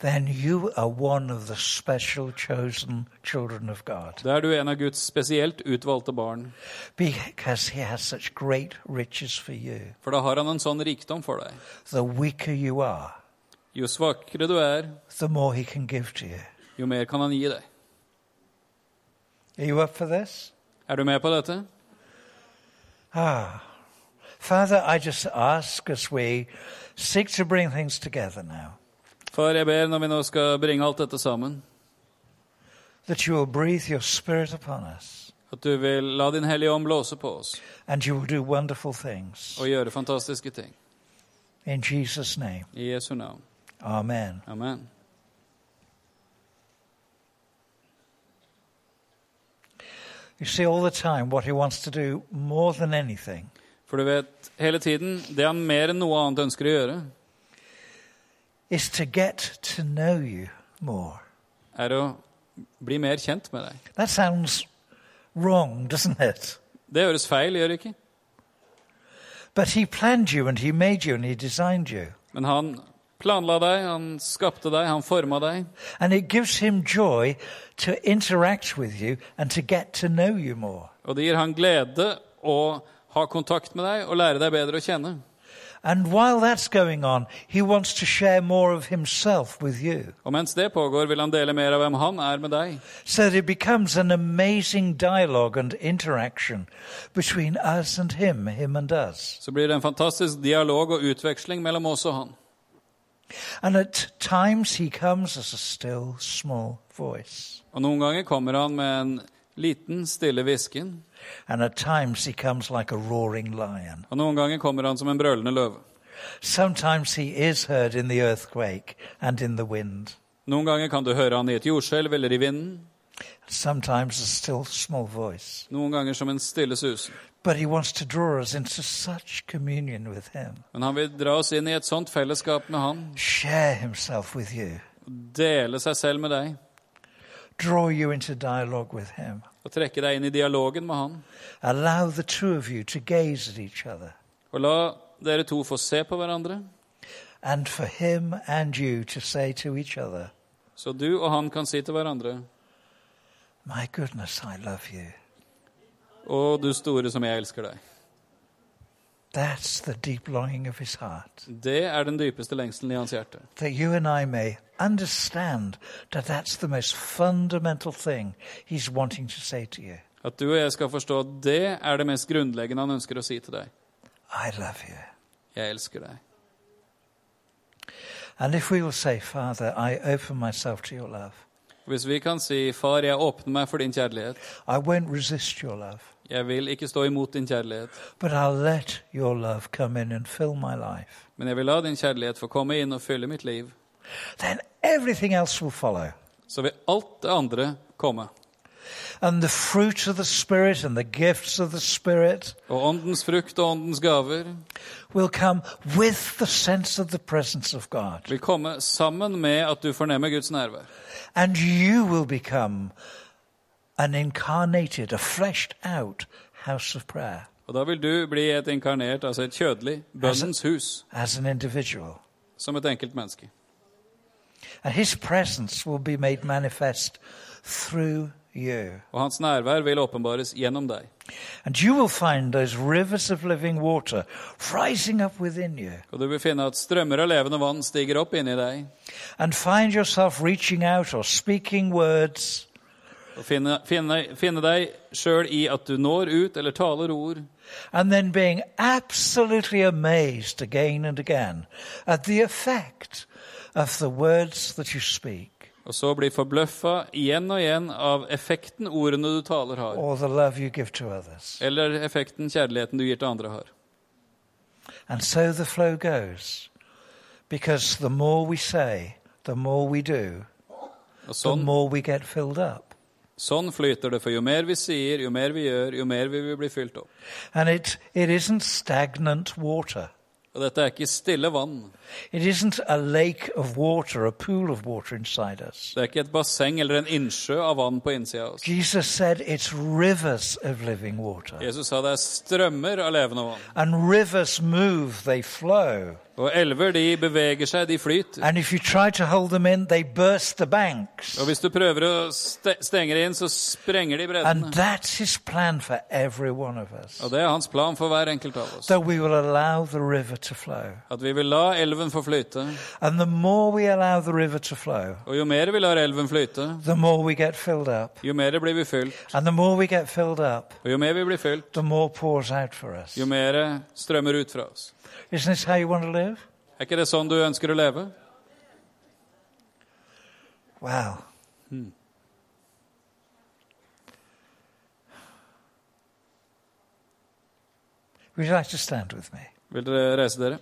S1: then you are one of the special chosen children of God
S2: da er du en av Guds spesielt utvalgte barn,
S1: because He has such great riches for you.
S2: for da har han en sånn rikdom for deg.
S1: The weaker you are,
S2: Jo svakere du er,
S1: the more He can give to you.
S2: jo mer kan han gi deg.
S1: Are you up for this?
S2: Er du med på dette?
S1: Ah. Father, I just ask as we seek to bring things together now
S2: Far, jeg ber når vi nå skal bringe alt dette sammen,
S1: that you will breathe your Spirit upon us
S2: at du vil la Din Hellige Ånd blåse på oss
S1: and you will do wonderful things.
S2: og gjøre fantastiske ting.
S1: In Jesus' name,
S2: I Jesu navn.
S1: Amen.
S2: Amen.
S1: You see, all the time, what He wants to do more than anything
S2: For du vet, hele tiden, det han mer enn noe annet ønsker å gjøre,
S1: is to get to know you more.
S2: er å bli mer kjent med deg.
S1: That sounds wrong, doesn't it?
S2: Det høres feil, gjør det ikke?
S1: But He planned you and He made you and He designed you.
S2: Men han planla deg, han skapte deg, han forma deg.
S1: And it gives Him joy to interact with you and to get to know you more.
S2: Og det gir han glede å ha kontakt med deg og lære deg bedre å kjenne.
S1: And while that's going on, he wants to share more of himself with you.
S2: Og mens det pågår, vil han dele mer av hvem han er med deg.
S1: So that it becomes an amazing dialogue and interaction between us and him, him and us.
S2: Så blir det en fantastisk dialog og utveksling mellom oss og han.
S1: And at times he comes as a still small voice.
S2: Og noen ganger kommer han med en liten, stille hvisken.
S1: And at times he comes like a roaring lion.
S2: Og noen ganger kommer han som en brølende løve.
S1: Sometimes he is heard in the earthquake and in the wind.
S2: Noen ganger kan du høre han i et jordskjelv eller i vinden.
S1: Sometimes a still small voice.
S2: Noen ganger som en stille susen.
S1: But he wants to draw us into such communion with him,
S2: Men han vil dra oss inn i et sånt fellesskap med han.
S1: share himself with you.
S2: Dele seg selv med deg.
S1: draw you into dialogue with him.
S2: Og trekke deg inn i dialogen med han.
S1: Allow the two of you to gaze at each other
S2: Og la dere to få se på hverandre.
S1: and for him and you to say to each other,
S2: Så du og han kan si til hverandre
S1: My goodness, I love you.
S2: Å, du store som jeg elsker deg.
S1: That's the deep longing of his heart,
S2: Det er den dypeste lengselen i hans hjerte.
S1: that you and I may understand that that's the most fundamental thing he's wanting to say to you.
S2: At du og jeg skal forstå at det er det mest grunnleggende han ønsker å si til deg.
S1: I love you.
S2: Jeg elsker deg.
S1: And if we will say, Father, I open myself to your love,
S2: Hvis vi kan si, far, jeg åpner meg for din kjærlighet.
S1: I won't resist your love,
S2: Jeg vil ikke stå imot din kjærlighet,
S1: but I'll let your love come in and fill my life,
S2: men jeg vil la din kjærlighet få komme inn og fylle mitt liv.
S1: then everything else will follow.
S2: Så vil alt det andre komme.
S1: and the fruit of the Spirit and the gifts of the Spirit
S2: Og åndens frukt og åndens gaver
S1: will come with the sense of the presence of God.
S2: vil komme sammen med at du fornemmer Guds nærvær.
S1: And you will become an incarnated, a fleshed out house of prayer
S2: Og da vil du bli et inkarnert, altså et kjødelig, bønnens hus,
S1: as an individual.
S2: som et enkelt menneske.
S1: And His presence will be made manifest through you.
S2: Og hans nærvær vil åpenbares gjennom deg.
S1: And you will find those rivers of living water rising up within you
S2: Og du vil finne at strømmer av levende vann stiger opp inni deg,
S1: and find yourself reaching out or speaking words.
S2: og finne, finne, finne deg sjøl i at du når ut eller taler ord,
S1: and then being absolutely amazed again and again at the effect of the words that you speak.
S2: og Og så bli forbløffa igjen og igjen av effekten ordene du taler, har.
S1: or the love you give to others.
S2: Eller effekten kjærligheten du gir til andre, har.
S1: And so the flow goes. Because the more we say, the more we do,
S2: Og
S1: the
S2: sånn,
S1: more we get filled up.
S2: sånn flyter det, for jo mer vi sier, jo mer vi gjør, jo mer vil vi bli fylt opp.
S1: And it, it isn't stagnant water.
S2: Og dette er ikke stille vann.
S1: It isn't a lake of water, a pool of water inside us.
S2: Det er ikke et basseng eller en innsjø av vann på innsida av oss.
S1: Jesus said it's rivers of living water.
S2: Jesus sa det er strømmer av levende vann.
S1: And rivers move, they flow.
S2: Og elver de beveger seg, de flyter.
S1: And if you try to hold them in, they burst the banks.
S2: Og hvis du prøver å ste stenge det inn, så sprenger de
S1: And
S2: breddene.
S1: that's his plan for every one of us.
S2: Og det er hans plan for hver enkelt av oss.
S1: That we will allow the river to flow.
S2: At vi vil la elven få flyte.
S1: And the more we allow the river to flow,
S2: Og jo mer vi lar elven flyte,
S1: the more we get filled up.
S2: jo mer blir vi fylt.
S1: And the more we get filled up,
S2: Og jo mer vi blir fylt,
S1: the more pours out for us.
S2: jo mer strømmer ut fra oss.
S1: Isn't this how you want to live?
S2: Er ikke det sånn du ønsker å leve?
S1: Wow. Would you like to stand with me?
S2: Vil dere reise dere?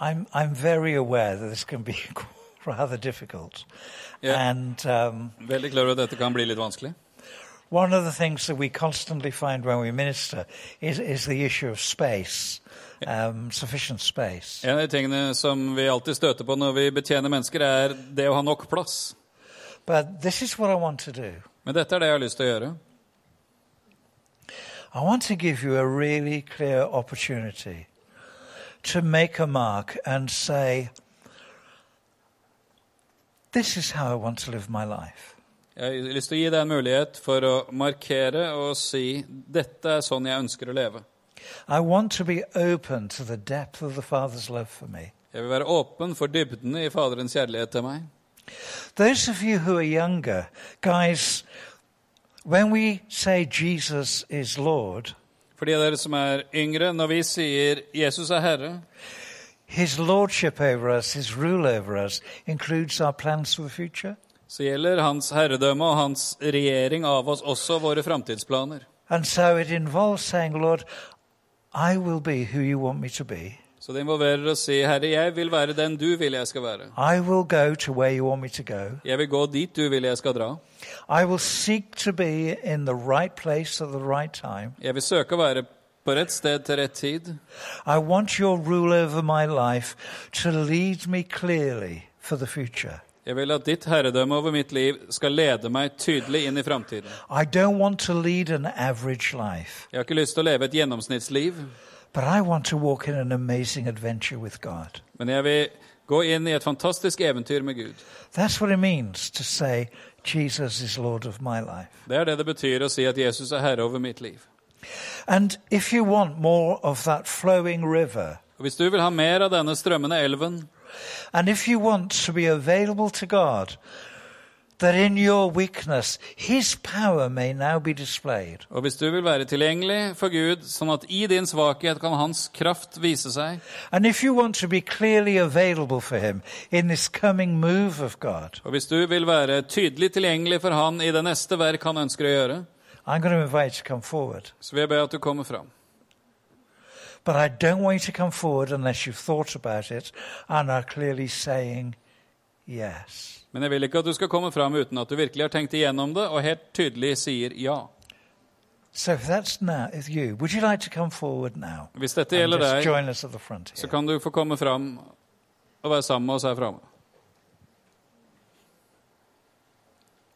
S1: I'm, I'm very aware that this can be rather difficult.
S2: Yeah.
S1: And um,
S2: Veldig klar over at dette kan bli litt vanskelig.
S1: one of the things that we constantly find when we minister is, is the issue of space, um, sufficient space.
S2: En av de tingene som vi alltid støter på når vi betjener mennesker, er det å ha nok plass.
S1: But this is what I want to do.
S2: Men dette er det jeg har lyst til å gjøre.
S1: I want to give you a really clear opportunity to make a mark and say, This is how I want to live my life.
S2: Jeg har lyst til å gi deg en mulighet for å markere og si dette er sånn jeg ønsker å leve.
S1: I want to be open to the depth of the Father's love for me.
S2: Jeg vil være åpen for dybden i Faderens kjærlighet til meg.
S1: Those of you who are younger, guys, when we say Jesus is Lord,
S2: For de av dere som er yngre, når vi sier 'Jesus er Herre',
S1: his lordship over us, his rule over us, includes our plans for the future.
S2: så gjelder Hans herredømme og Hans regjering av oss også våre framtidsplaner.
S1: And so it involves saying, Lord, I will be who you want me to be.
S2: Så det involverer å si 'Herre, jeg vil være den du vil jeg skal være'.
S1: I will go to where you want me to go.
S2: Jeg vil gå dit du vil jeg skal dra.
S1: I will seek to be in the right place at the right time.
S2: Jeg vil søke å være på rett sted til rett tid.
S1: I want your rule over my life to lead me clearly for the future.
S2: Jeg vil at ditt herredømme over mitt liv skal lede meg tydelig inn i framtiden.
S1: I don't want to lead an average life,
S2: Jeg har ikke lyst til å leve et gjennomsnittsliv,
S1: but I want to walk in an amazing adventure with God.
S2: men jeg vil gå inn i et fantastisk eventyr med Gud.
S1: That's what it means to say, Jesus is Lord of my life.
S2: Det er det det betyr å si at Jesus er herre over mitt liv.
S1: And if you want more of that flowing river,
S2: Og Hvis du vil ha mer av denne strømmende elven,
S1: And if you want to be available to God, that in your weakness His power may now be displayed,
S2: og hvis du vil være tilgjengelig for Gud, sånn at i din svakhet kan hans kraft vise seg,
S1: and if you want to be clearly available for Him in this coming move of God,
S2: og hvis du vil være tydelig tilgjengelig for han i det neste verk han ønsker å gjøre,
S1: I'm going to invite you to come forward.
S2: så vil jeg be at du kommer fram.
S1: But I don't want you to come forward unless you've thought about it and are clearly saying yes.
S2: Men jeg vil ikke at du skal komme fram uten at du virkelig har tenkt igjennom det og helt tydelig sier ja.
S1: So if that's now, if you, would you like to come forward now?
S2: Hvis dette
S1: And
S2: gjelder
S1: just
S2: deg,
S1: join us at the front
S2: så
S1: here.
S2: kan du få komme fram og være sammen med oss her framme.